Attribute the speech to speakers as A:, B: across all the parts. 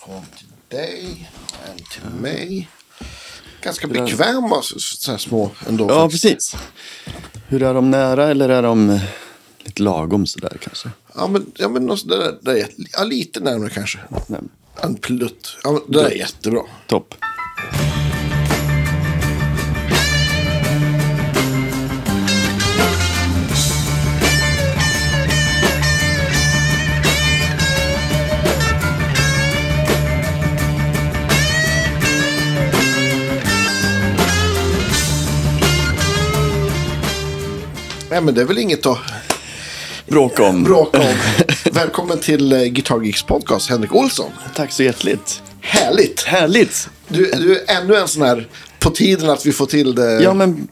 A: Från till dig, en till mig. Ganska bekväma så, så här små ändå.
B: Ja,
A: faktiskt.
B: precis. Hur är de nära eller är de eh, lite lagom sådär kanske?
A: Ja, men, ja, men något, det där, det där är, ja, lite närmare kanske.
B: Nej,
A: En plutt. Ja, men, det där är jättebra.
B: topp.
A: Nej, men det är väl inget att
B: Bråka om.
A: bråka om. Välkommen till eh, Guitar Geeks podcast, Henrik Olsson.
B: Tack så hjärtligt.
A: Härligt!
B: Härligt!
A: Du, du är ännu en sån här, på tiden att vi får till det.
B: Ja, men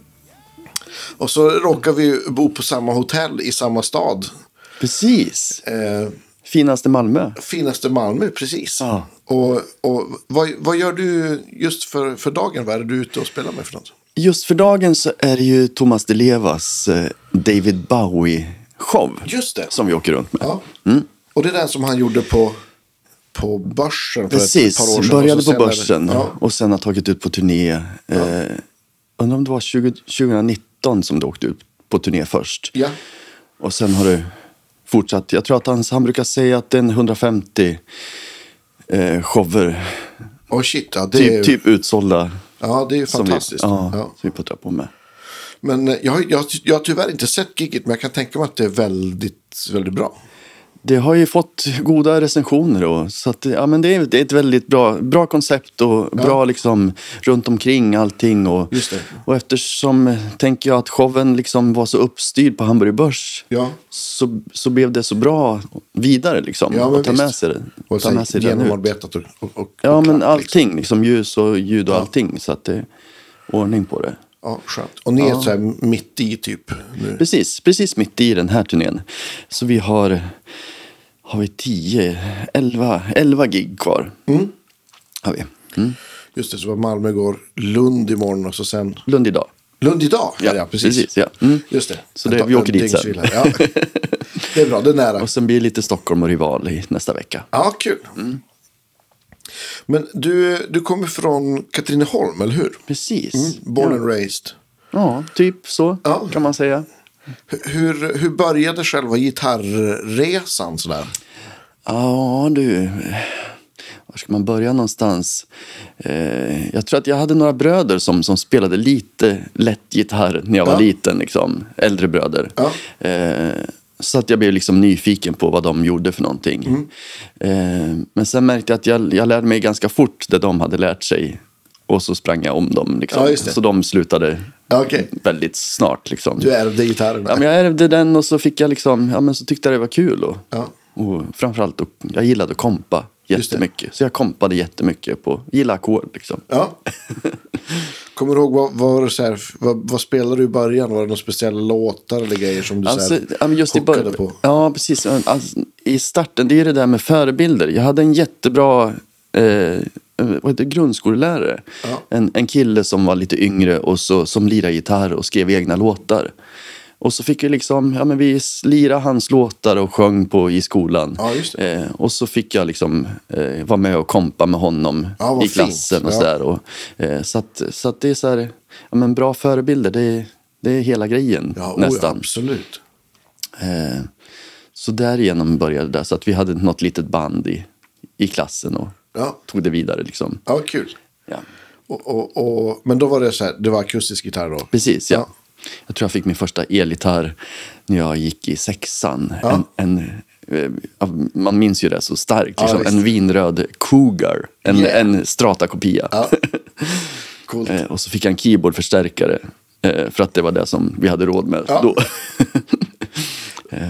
A: Och så råkar vi ju bo på samma hotell i samma stad.
B: precis.
A: Eh,
B: Finaste Malmö.
A: finaste Malmö, precis.
B: Ja.
A: Och, och vad, vad gör du just för, för dagen? Vad är det du är ute och spelar med för något?
B: Just för dagen så är det ju Thomas Di Levas eh, David Bowie-show.
A: Just det.
B: Som vi åker runt med.
A: Ja. Och det är den som han gjorde på, på börsen för
B: Precis,
A: ett par år sedan.
B: började
A: Och så
B: på
A: sen är det-
B: börsen
A: Ja.
B: och sen har tagit ut på turné. Eh, undrar om det var 20, 2019 som du åkte ut på turné först.
A: ja.
B: Och sen har du fortsatt. Jag tror att han, han brukar säga att det är en 150 eh, shower.
A: Och shit, ja, det,
B: Typ,
A: är,
B: typ utsålda.
A: ja, det är ju
B: som vi-
A: fantastiskt.
B: Ja,
A: Ja.
B: Som vi puttrar på med.
A: Men eh, jag, har- jag, har ty- jag har tyvärr inte sett giget, men jag kan tänka mig att det är väldigt, väldigt bra.
B: Mm. Det har ju fått goda recensioner. Och, så att, ja, men det, är, det är ett väldigt bra, bra koncept och bra liksom, runt omkring allting. Och,
A: Just det.
B: och eftersom eh, tänker jag att showen liksom var så uppstyrd på Hamburg Börs
A: Ja.
B: så, så blev det så bra vidare. Liksom,
A: Ja, men
B: och ta
A: visst.
B: med sig det.
A: Och
B: ta
A: sen
B: med sig den ut.
A: genomarbetat och, och, och
B: Ja,
A: och
B: men
A: klart, liksom.
B: allting. Liksom, ljus och ljud och allting. Så att det är ordning på det.
A: Ja, skönt. Och ni är så här mitt i typ nu.
B: Precis, precis mitt i den här turnén. Så vi har, har vi 10, 11, 11 gig kvar.
A: Mm.
B: Har vi. Mm.
A: Just det, så var Malmö går Lund imorgon och så sen
B: Lund idag.
A: Lund idag. Ja, ja precis.
B: precis, ja. Mm.
A: Just det.
B: Så det-
A: En-
B: vi åker
A: en
B: dit sen.
A: dygnsvila. Ja. Det är bra, det är nära.
B: Och sen blir det lite Stockholm och Rival i nästa vecka.
A: Ja, kul.
B: Mm.
A: Men du, du kommer från Katrineholm, eller hur?
B: Precis.
A: Born and raised.
B: Ja, typ så
A: Mm, Ja.
B: kan man säga.
A: H- Hur, hur började själva gitarrresan sådär?
B: Ja, du. Var ska man börja någonstans? Eh, jag tror att jag hade några bröder som, som spelade lite lätt gitarr när jag var
A: Ja.
B: liten. Liksom. Äldre bröder.
A: Ja.
B: Eh, så att jag blev liksom nyfiken på vad de gjorde för någonting.
A: Mm.
B: Eh, men sen märkte jag att jag, jag lärde mig ganska fort det de hade lärt sig. Och så sprang jag om dem. Liksom.
A: Ja, just det.
B: så de slutade
A: Ja, okej.
B: väldigt snart. Liksom.
A: Du ärvde gitarren?
B: Ja, men jag ärvde den och så fick jag liksom, ja men så tyckte jag det var kul. Och,
A: Ja.
B: och framförallt, och jag gillade att kompa
A: Just det.
B: jättemycket. Så jag kompade jättemycket på, gilla ackord liksom.
A: Ja. Kommer du ihåg vad, vad, det så här, vad, vad spelade du i början? Var det några speciella låtar eller grejer som du så
B: Alltså,
A: här,
B: ja, men just i
A: hookade
B: början.
A: på?
B: Ja, precis. Alltså, I starten, det är det där med förebilder. Jag hade en jättebra eh, vad heter, det, grundskolelärare.
A: Ja.
B: En, en kille som var lite yngre och så, som lirade gitarr och skrev egna låtar. Och så fick vi liksom, ja men vi s- lirade hans låtar och sjöng på i skolan.
A: Ja, just det.
B: Eh, och så fick jag liksom eh, vara med och kompa med honom
A: Ja, vad
B: i klassen
A: fint.
B: och
A: Ja.
B: sådär. Och, eh, så att, så att det är så här, ja men bra förebilder, det är, det är hela grejen
A: Ja, oh, ja,
B: nästan.
A: absolut.
B: Eh, Så därigenom började det. Så att vi hade något litet band i, i klassen och
A: Ja,
B: tog det vidare. Liksom.
A: ja kul.
B: Ja.
A: Och, och, och, men då var det så här, det var akustisk gitarr då?
B: Precis, ja.
A: Ja.
B: Jag tror jag fick min första elgitarr när jag gick i sexan.
A: Ja.
B: En, en, eh, man minns ju det så starkt.
A: Ja,
B: Liksom.
A: visst.
B: en vinröd Cougar, en,
A: Yeah.
B: en Strata-kopia.
A: Ja. Coolt.
B: Eh, Och så fick jag en keyboardförstärkare eh, för att det var det som vi hade råd med
A: Ja.
B: då. Eh,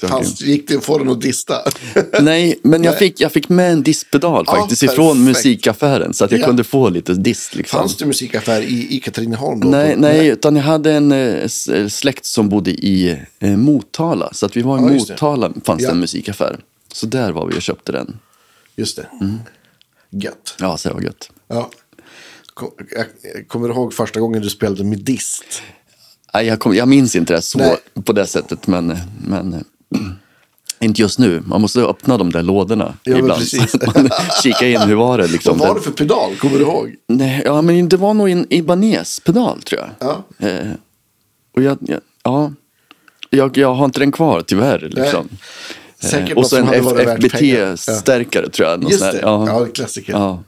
B: så jag-
A: Fanns, gick det att få den att dista?
B: Nej, men jag
A: Nej.
B: fick, jag fick med en diskpedal
A: Ja,
B: faktiskt ifrån
A: perfekt.
B: musikaffären. Så att jag
A: Ja.
B: kunde få lite disk. Liksom.
A: Fanns det musikaffär i, i Katrineholm då?
B: Nej, nej, utan jag hade en eh, s- eh, släkt som bodde i eh, Motala. Så att vi var i
A: Ja, just det.
B: Motala fanns
A: Ja.
B: det en musikaffär. Så där var vi och köpte den.
A: Just det.
B: Mm.
A: Gött.
B: Ja, så det var gött.
A: Ja. Kom- jag- jag Kommer du ihåg första gången du spelade med dist?
B: Nej, jag, kom, jag minns inte det så
A: Nej.
B: på det sättet, men, men eh, Inte just nu. Man måste öppna de där lådorna
A: Ja, men
B: ibland.
A: precis.
B: Så att man kikar in, hur var det liksom?
A: Vad var
B: Den-
A: det för pedal? Kommer du ihåg?
B: Nej, ja, men det var nog en Ibanez-pedal tror jag.
A: Ja.
B: Eh, och jag, jag, ja, jag, jag har inte den kvar tyvärr. Liksom.
A: Säkert
B: och
A: något
B: så
A: som
B: en
A: hade varit värt pengar.
B: FBT-stärkare tror jag. någon
A: Just
B: sån här.
A: det,
B: Ja.
A: ja, klassiker.
B: Ja.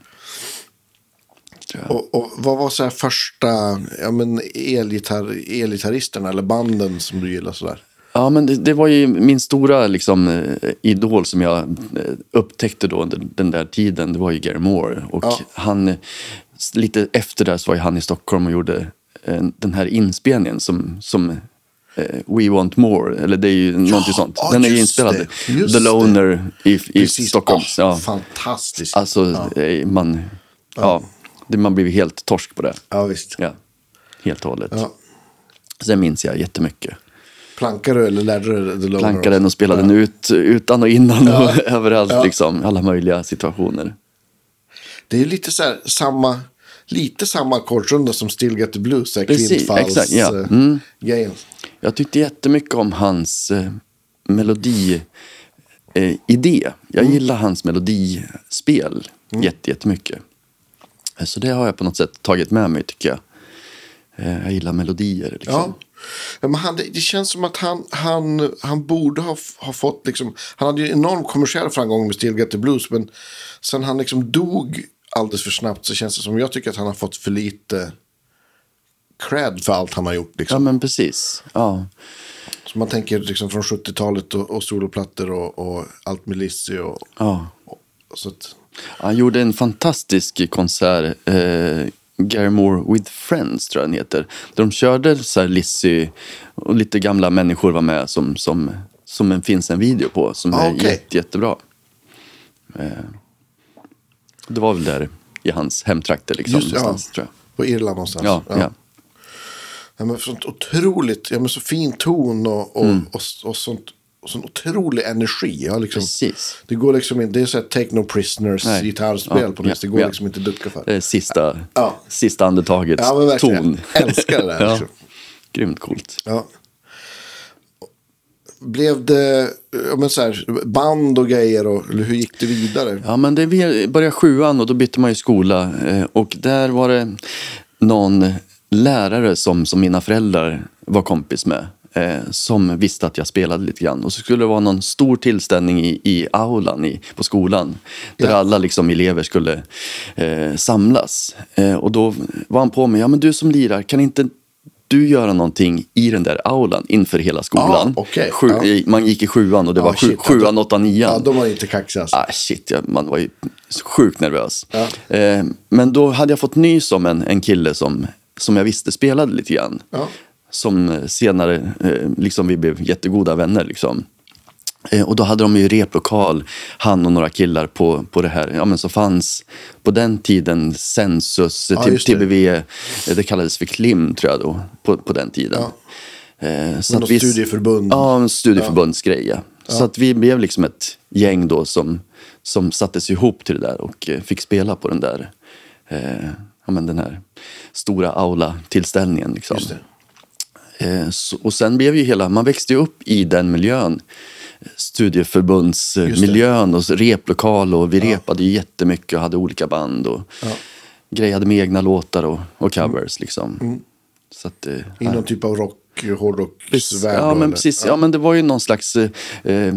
A: Och, och vad var så här första ja, men elgitarr, elgitarristerna eller banden som du gillar sådär?
B: Ja, men det, det var ju min stora liksom, eh, idol som jag eh, upptäckte då under den där tiden. Det var ju Gary Moore. Och
A: Ja.
B: han, eh, s- lite efter det här så var ju han i Stockholm och gjorde eh, den här inspelningen som, som eh, We Want More. Eller det är ju någonting sånt.
A: ja,
B: den är ju
A: just
B: inspelad.
A: det, just
B: The
A: det.
B: Loner i, i Stockholm.
A: Ah,
B: ja.
A: Fantastiskt.
B: Alltså, eh, man, ja. det, man blev ju helt torsk på det.
A: ja, visst.
B: Ja. Helt och hållet.
A: Ja.
B: Sen minns jag jättemycket.
A: Plankade du eller lärde du dig The Loner?
B: plankade den och spelade den ut, utan och innan och överallt.
A: Ja.
B: Liksom, alla möjliga situationer.
A: Det är lite så här, samma, lite samma ackordsrunda som Still Get The Blues, så här
B: Precis,
A: Klintfalls,
B: exakt, ja.
A: eh,
B: Mm.
A: grejen.
B: Jag tyckte jättemycket om hans eh, melodi eh, idé. Jag
A: Mm.
B: gillar hans melodispel jätte, jättemycket. Eh, Så det har jag på något sätt tagit med mig, tycker jag. Eh, jag gillar melodier. Liksom.
A: Ja. Ja, Men han, det det känns som att han, han, han borde ha, f- ha fått, liksom, han hade ju enorm kommersiell framgång med Still Get The Blues, men sen han liksom dog alldeles för snabbt så känns det som, jag tycker att han har fått för lite cred för allt han har gjort.
B: Ja,
A: Liksom.
B: men precis. Ja.
A: Så man tänker liksom från 70-talet och, och soloplattor och, och allt med Lizzy och,
B: Ja.
A: och, och så att,
B: Han gjorde en fantastisk konsert, eh, Gary Moore with Friends tror jag den heter. Där de körde så här Lizzy och lite gamla människor var med som, som, som en, finns en video på som
A: Ah,
B: är
A: okej.
B: jätte, jättebra. Eh, det var väl där i hans hemtrakter liksom.
A: Just- ja.
B: någonstans, tror
A: på Irland någonstans.
B: jag. Ja, ja.
A: Ja, men sånt otroligt, ja, men så fin ton och, och,
B: Mm.
A: och, och sånt, och sån otrolig energi. Ja, liksom,
B: Precis.
A: det går liksom inte, det är så här take no prisoners
B: Nej.
A: gitarrspel
B: Ja,
A: på något vis. Det
B: ja,
A: går
B: ja.
A: liksom inte att ducka för.
B: Eh, Sista,
A: Ja.
B: sista andetagets
A: Ja, men verkligen.
B: ton.
A: Älskar det där,
B: ja.
A: liksom.
B: Grymt coolt.
A: Ja. Blev det ja, men så här, band och grejer? Och, eller hur gick det vidare?
B: Ja, men det vi började sjuan och då bytte man ju skola. Eh, Och där var det någon lärare som, som mina föräldrar var kompis med. eh, Som visste att jag spelade lite grann. Och så skulle det vara någon stor tillställning i, i aulan i, på skolan. Där
A: Ja.
B: alla liksom elever skulle eh, samlas. Eh, och då var han på mig. Ja, men du som lirar, kan inte du göra någonting i den där aulan inför hela skolan?
A: Ah, okej.
B: Sju,
A: Ja.
B: eh, Man gick i sjuan och det
A: Ja,
B: var sju,
A: shit.
B: sjuan, åttan, nian.
A: Ja, de var inte kaxiga. Alltså.
B: Ah, shit, jag, man var ju sjukt nervös.
A: Ja.
B: Eh, men då hade jag fått nys om en, en kille som, som jag visste spelade lite grann.
A: Ja.
B: Som eh, senare, eh, liksom vi blev jättegoda vänner. Liksom. Eh, och då hade de ju replokal, han och några killar på, på det här. Ja, men så fanns på den tiden Sensus,
A: Ja,
B: T-
A: just det.
B: TBV, eh, det kallades för Klim tror jag då, på, på den tiden. Eh, så
A: Något studieförbund.
B: Ja, en studieförbundsgrej. Ja. Så att vi blev liksom ett gäng då som, som sattes ihop till det där och eh, fick spela på den där eh, ja, men den här stora aula-tillställningen. Liksom.
A: Just det.
B: Eh, så, och sen blev ju hela, man växte ju upp i den miljön. Eh, Studieförbundsmiljön och så replokal och vi repade ju jättemycket och hade olika band och grejade med egna låtar och, och
A: Mm.
B: covers. Liksom. Så att, eh,
A: I någon typ av rock, hårdrocksvärld.
B: Ja,
A: då,
B: men
A: eller?
B: precis. Ja, men det var ju någon slags... Eh, eh,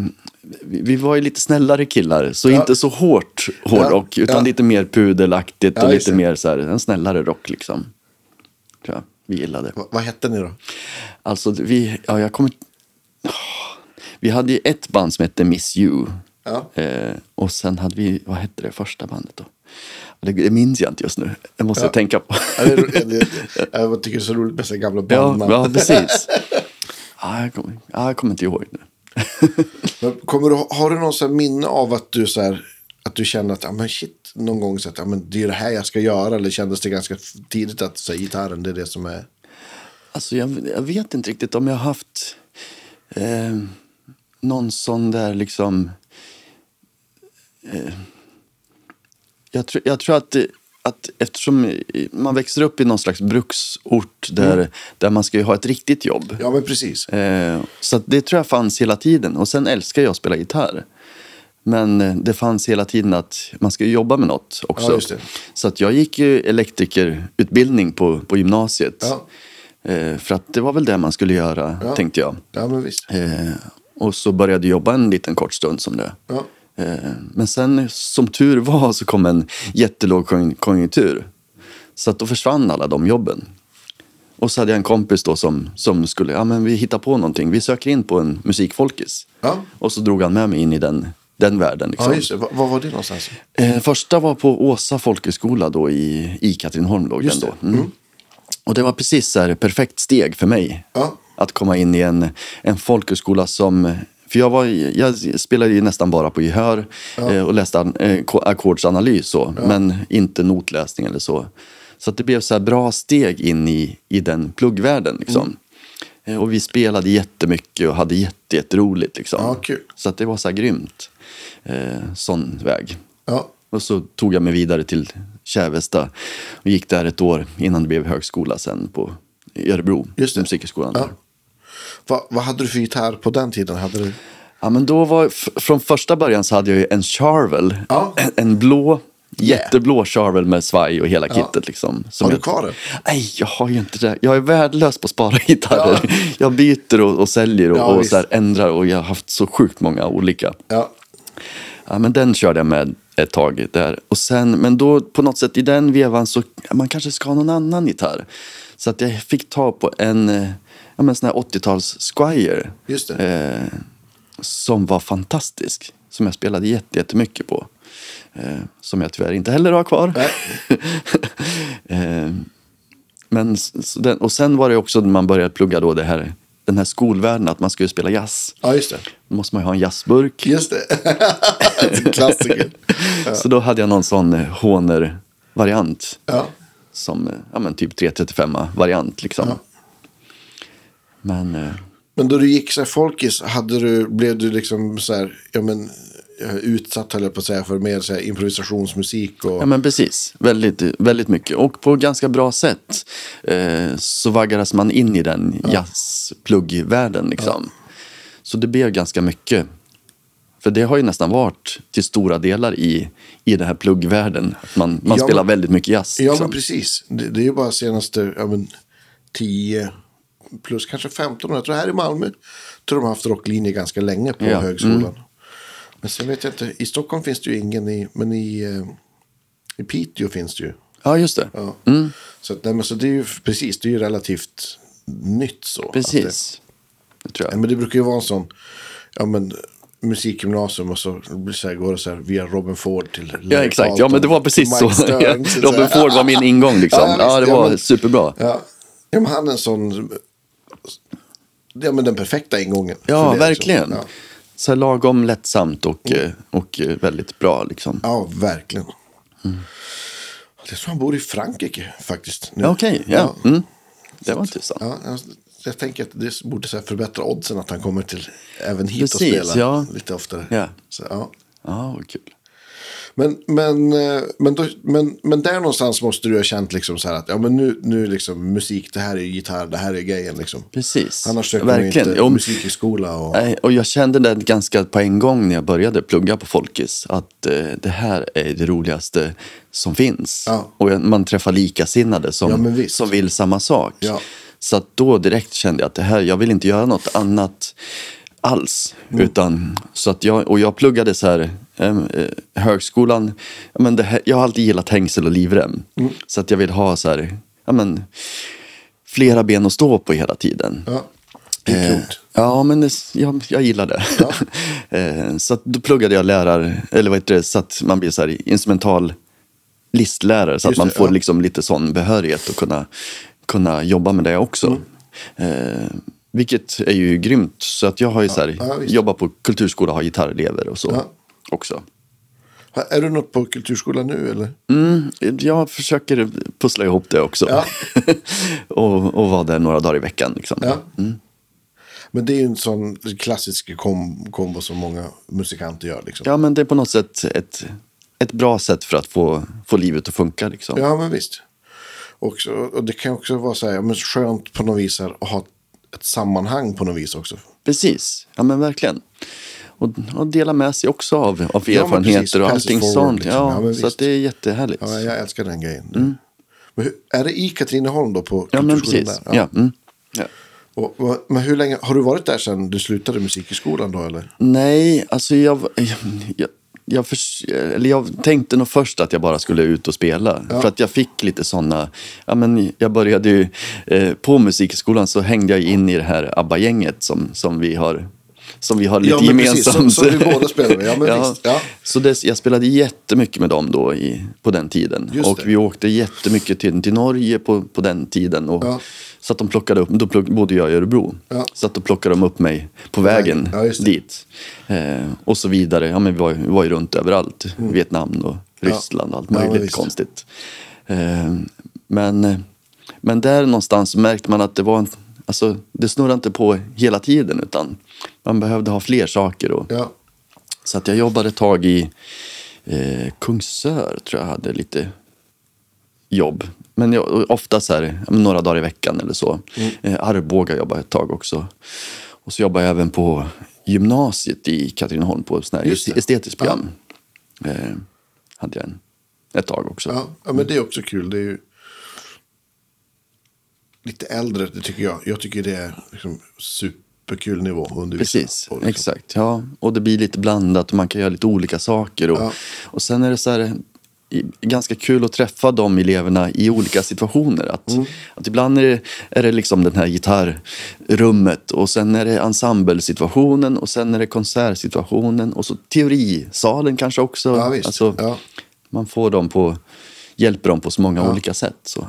B: vi vi var ju lite snällare killar, så inte så hårt hårdrock,
A: Ja,
B: utan
A: ja.
B: lite mer pudelaktigt
A: Ja,
B: och
A: just
B: lite
A: det.
B: mer så här, en snällare rock liksom. Tror jag vi gillade.
A: Va- vad hette ni då?
B: Alltså, vi... Ja, jag kommer... Ah, Vi hade ju ett band som hette Miss You.
A: Ja.
B: Eh, och sen hade vi, vad hette det första bandet då? Det, det minns jag inte just nu. Det måste jag tänka på.
A: Ja, det är ro- det- det- Jag tycker det är så roligt med så här gamla
B: ja,
A: bandnamn.
B: ja, precis. ah, jag, kommer, ah, jag kommer inte ihåg nu.
A: Men kommer du, har du någon så här minne av att du, så här, att du känner att ah, men shit, någon gång så att, ah, men det är det här jag ska göra? Eller kändes det ganska f- tidigt att så här, gitarren det är det som är...
B: Alltså jag, jag vet inte riktigt om jag har haft eh, någon sån där liksom... Eh, jag, tror- jag tror att, det- att eftersom man växer upp i någon slags bruksort där, där man ska ju ha ett riktigt jobb.
A: Ja, men precis.
B: Eh, så att det tror jag fanns hela tiden. Och sen älskar jag att spela gitarr. Men eh, det fanns hela tiden att man ska ju jobba med något också.
A: Ja, just det.
B: Så att jag gick ju elektrikerutbildning på, på gymnasiet. Eh, för att det var väl det man skulle göra,
A: Ja.
B: tänkte jag.
A: Ja, men visst.
B: Eh, och så började jag jobba en liten kort stund som det.
A: Ja.
B: Eh, men sen, som tur var, så kom en jättelåg kon- konjunktur. Så att då försvann alla de jobben. Och så hade jag en kompis då som, som skulle, ja men vi hittar på någonting, vi söker in på en musikfolkis.
A: Ja.
B: Och så drog han med mig in i den, den världen. Liksom.
A: Ja, just det. Va- Vad var det någonstans?
B: Eh, första var på Åsa folkhögskola då i, i Katrineholm. Låg den
A: Just
B: då. Mm. Och det var precis så här, perfekt steg för mig.
A: Ja.
B: Att komma in i en, en folkhögskola som... För jag, var, i- jag spelade ju nästan bara på gehör eh, och läste an- eh, ko- ackordsanalys, så, men inte notläsning eller så. Så att det blev så här bra steg in i, i den pluggvärlden.
A: Mm.
B: Liksom. Eh, Och vi spelade jättemycket och hade jätte- jätteroligt. Liksom.
A: Ja, kul.
B: Så att det var så här grymt. Eh, sån väg.
A: Ja.
B: Och så tog jag mig vidare till Kävesta och gick där ett år innan det blev högskola sen på i Örebro,
A: Just det.
B: musikskolan.
A: Ja.
B: Där.
A: Va, vad hade du för gitarr på den tiden? Hade du...
B: Ja, men då var, f- från första början så hade jag ju en charvel,
A: Ja.
B: en, en blå, jätteblå charvel med svaj och hela kittet. Liksom, som
A: Har du
B: jag-
A: kvar den?
B: Nej, jag har ju inte det. Jag är värdelös på att spara gitarrer. Jag byter och, och säljer och,
A: Ja,
B: och
A: visst.
B: så här ändrar och jag har haft så sjukt många olika.
A: Ja.
B: Ja, men den körde jag med ett tag där. Och sen, men då på något sätt i den vevan så ja, man kanske ska ha någon annan gitarr. Så att jag fick ta på en, eh, ja, men sån här 80-tals Squire.
A: Just det.
B: Eh, som var fantastisk. Som jag spelade jätte- jättemycket på. Eh, som jag tyvärr inte heller har kvar. eh, men, s- så den, och sen var det också när man började plugga då det här, den här skolvärlden att man skulle spela jazz.
A: ja, just det.
B: Då måste man ju ha en jazzburk.
A: Just det. Klassiker.
B: Så då hade jag någon sån eh, Honer-variant.
A: Ja.
B: Som eh, ja, men typ 335-variant. Liksom. Men eh,
A: Men då du gick så här, folkis, hade du, blev du liksom så här, ja men eh, utsatt höll jag på att säga för mer så här, improvisationsmusik och...
B: Ja, men precis. Väldigt, väldigt mycket. Och på ganska bra sätt eh, så vaggades man in i den jazzpluggvärlden. Liksom. Så det blev ganska mycket. För det har ju nästan varit till stora delar i, i den här pluggvärlden. Att man man
A: Ja,
B: spelar
A: men-
B: väldigt mycket jazz.
A: Ja,
B: liksom.
A: men precis. Det, det är ju bara senaste ja, men, 10 plus kanske 15 år. Jag tror här i Malmö tror de har haft rocklinje ganska länge på
B: Ja, mm.
A: högskolan. Men sen vet jag inte, i Stockholm finns det ju ingen, i, men i, eh, i Piteå finns det ju.
B: ja Mm. just det.
A: Ja. Så, att, nej, men, så det är ju precis, det är ju relativt nytt så. att Det,
B: Precis. Det tror jag.
A: Ja, men det brukar ju vara en sån, ja men musikgymnasium och så, blir det så här, går det så här via Robin Ford till
B: Ja,
A: Larry
B: exakt. Ja,
A: Carlton,
B: men det var precis så.
A: Mike Stern, så
B: Robin
A: här.
B: Ford var min ingång. Liksom.
A: Ja,
B: Ja,
A: visst.
B: det
A: Ja,
B: var
A: men-
B: superbra.
A: Ja. ja, men han är en sån, ja men den perfekta ingången. för det,
B: Ja,
A: liksom.
B: verkligen.
A: Ja. Mm.
B: Så här lagom lättsamt och, eh, och eh, väldigt bra. Liksom.
A: ja, verkligen. Jag tror han bor i Frankrike faktiskt. nu.
B: Ja, Okej, ja. Mm. Det var tusan.
A: Ja, jag, jag tänker att det borde så här förbättra oddsen att han kommer till även hit
B: Precis,
A: och spelar
B: ja.
A: lite oftare.
B: Ja.
A: Så, ja.
B: Ja, vad kul.
A: Men, men, eh, men, då, men, men där någonstans måste du ha känt liksom så här att ja, men nu, nu liksom musik, det här är gitarr, det här är grejen. Liksom.
B: Precis.
A: Annars söker man ju
B: Verkligen.
A: inte
B: Jo,
A: musikhögskola. Och...
B: nej, och jag kände det ganska på en gång när jag började plugga på Folkis. Att eh, det här är det roligaste som finns.
A: Ja.
B: Och jag- man träffar likasinnade
A: Ja,
B: som,
A: men visst.
B: som vill samma sak.
A: Ja.
B: Så att då direkt kände jag att det här, jag vill inte göra något annat alls. Utan, så att jag, och jag pluggade så här, eh, eh, högskolan, ja, men det här, jag har alltid gillat hängsel och livrem.
A: Mm.
B: Så att jag vill ha så här, ja, men, flera ben att stå på hela tiden.
A: Ja, det är
B: Eh,
A: klokt.
B: Ja, men det, jag, jag gillar det. Eh, så att då pluggade jag lärar, eller vad heter det, så att man blir så här instrumental listlärare. Så att
A: Just
B: man
A: det,
B: får
A: ja.
B: liksom lite sån behörighet och kunna, kunna jobba med det också. Eh, vilket är ju grymt. Så att jag har ju så här,
A: Mm. ja, visst.
B: jobbat på kulturskola, har gitarrelever och så
A: Ja.
B: också.
A: Ha- Är du något på kulturskolan nu eller?
B: Mm, jag försöker pussla ihop det också.
A: Ja.
B: och, och vara där några dagar i veckan. Liksom.
A: Ja. Men det är ju en sån klassisk kom kombo som många musikanter gör. Liksom.
B: Ja, men det är på något sätt ett ett bra sätt för att få, få livet att funka. Liksom.
A: Ja, men visst. Och, så, och det kan också vara så här, ja, men skönt på något vis här, att ha ett sammanhang på något vis också.
B: Precis, ja men verkligen. Och, och dela med sig också av, av
A: Ja, men precis.
B: erfarenheter och
A: Pass it
B: allting
A: forward,
B: sånt.
A: liksom. Ja,
B: Ja,
A: men
B: så
A: visst.
B: att det är jättehärligt.
A: Ja, jag älskar den grejen. Men hur, är det i Katrineholm då? På
B: Mm. Ja, men
A: kulturskolan
B: precis.
A: där?
B: Ja. Mm. Ja.
A: Och, vad- men hur länge, har du varit där sedan du slutade musikskolan då eller?
B: Nej, alltså jag, jag, jag, förs- eller jag tänkte nog först att jag bara skulle ut och spela. För att jag fick lite sådana... Ja, men jag började ju... Eh, på musikskolan så hängde jag in i det här ABBA-gänget som, som vi har som vi har lite
A: Ja, men precis,
B: gemensamt.
A: som- som vi båda spelar med. Ja, men visst, ja.
B: Så det, jag spelade jättemycket med dem då i, på den tiden.
A: Just
B: och
A: det.
B: vi åkte jättemycket till, till Norge på, på den tiden. Och,
A: Ja.
B: Så att de plockade upp, då plock, bodde jag i Örebro.
A: Ja.
B: Så att då plockade de upp mig på vägen
A: Ja, just det.
B: dit. Eh, och så vidare. Ja, men vi, var, vi var ju runt överallt. Vietnam och Ryssland och allt
A: Mm. Ja, men
B: möjligt
A: visst.
B: konstigt. Eh, men, men där någonstans märkte man att det var en, alltså, det snurrade inte på hela tiden utan man behövde ha fler saker. Och,
A: Ja,
B: Så att jag jobbade ett tag i eh, Kungsör tror jag hade lite jobb. Men jag, ofta så här, ja, men några dagar i veckan eller så.
A: Mm.
B: Eh, Arboga jobbade jag ett tag också. Och så jobbade jag även på gymnasiet i Katrineholm på ett sånt här
A: Just det.
B: estetiskt program. Eh, hade jag en, ett tag också.
A: ja, ja men det är också kul. Det är ju lite äldre, det tycker jag. Jag tycker det är liksom superkul nivå att undervisa
B: Precis,
A: på, liksom.
B: exakt. Ja. Och det blir lite blandat och man kan göra lite olika saker. Och,
A: Ja.
B: och sen är det så här, i- ganska kul att träffa de eleverna i olika situationer. Att,
A: Mm.
B: att ibland är det, är det liksom den här gitarrrummet och sen är det ensemblesituationen och sen är det konsertsituationen och så teorisalen kanske också.
A: Ja, visst.
B: Alltså,
A: Ja.
B: Man får dem på, hjälper dem på så många olika sätt. Så.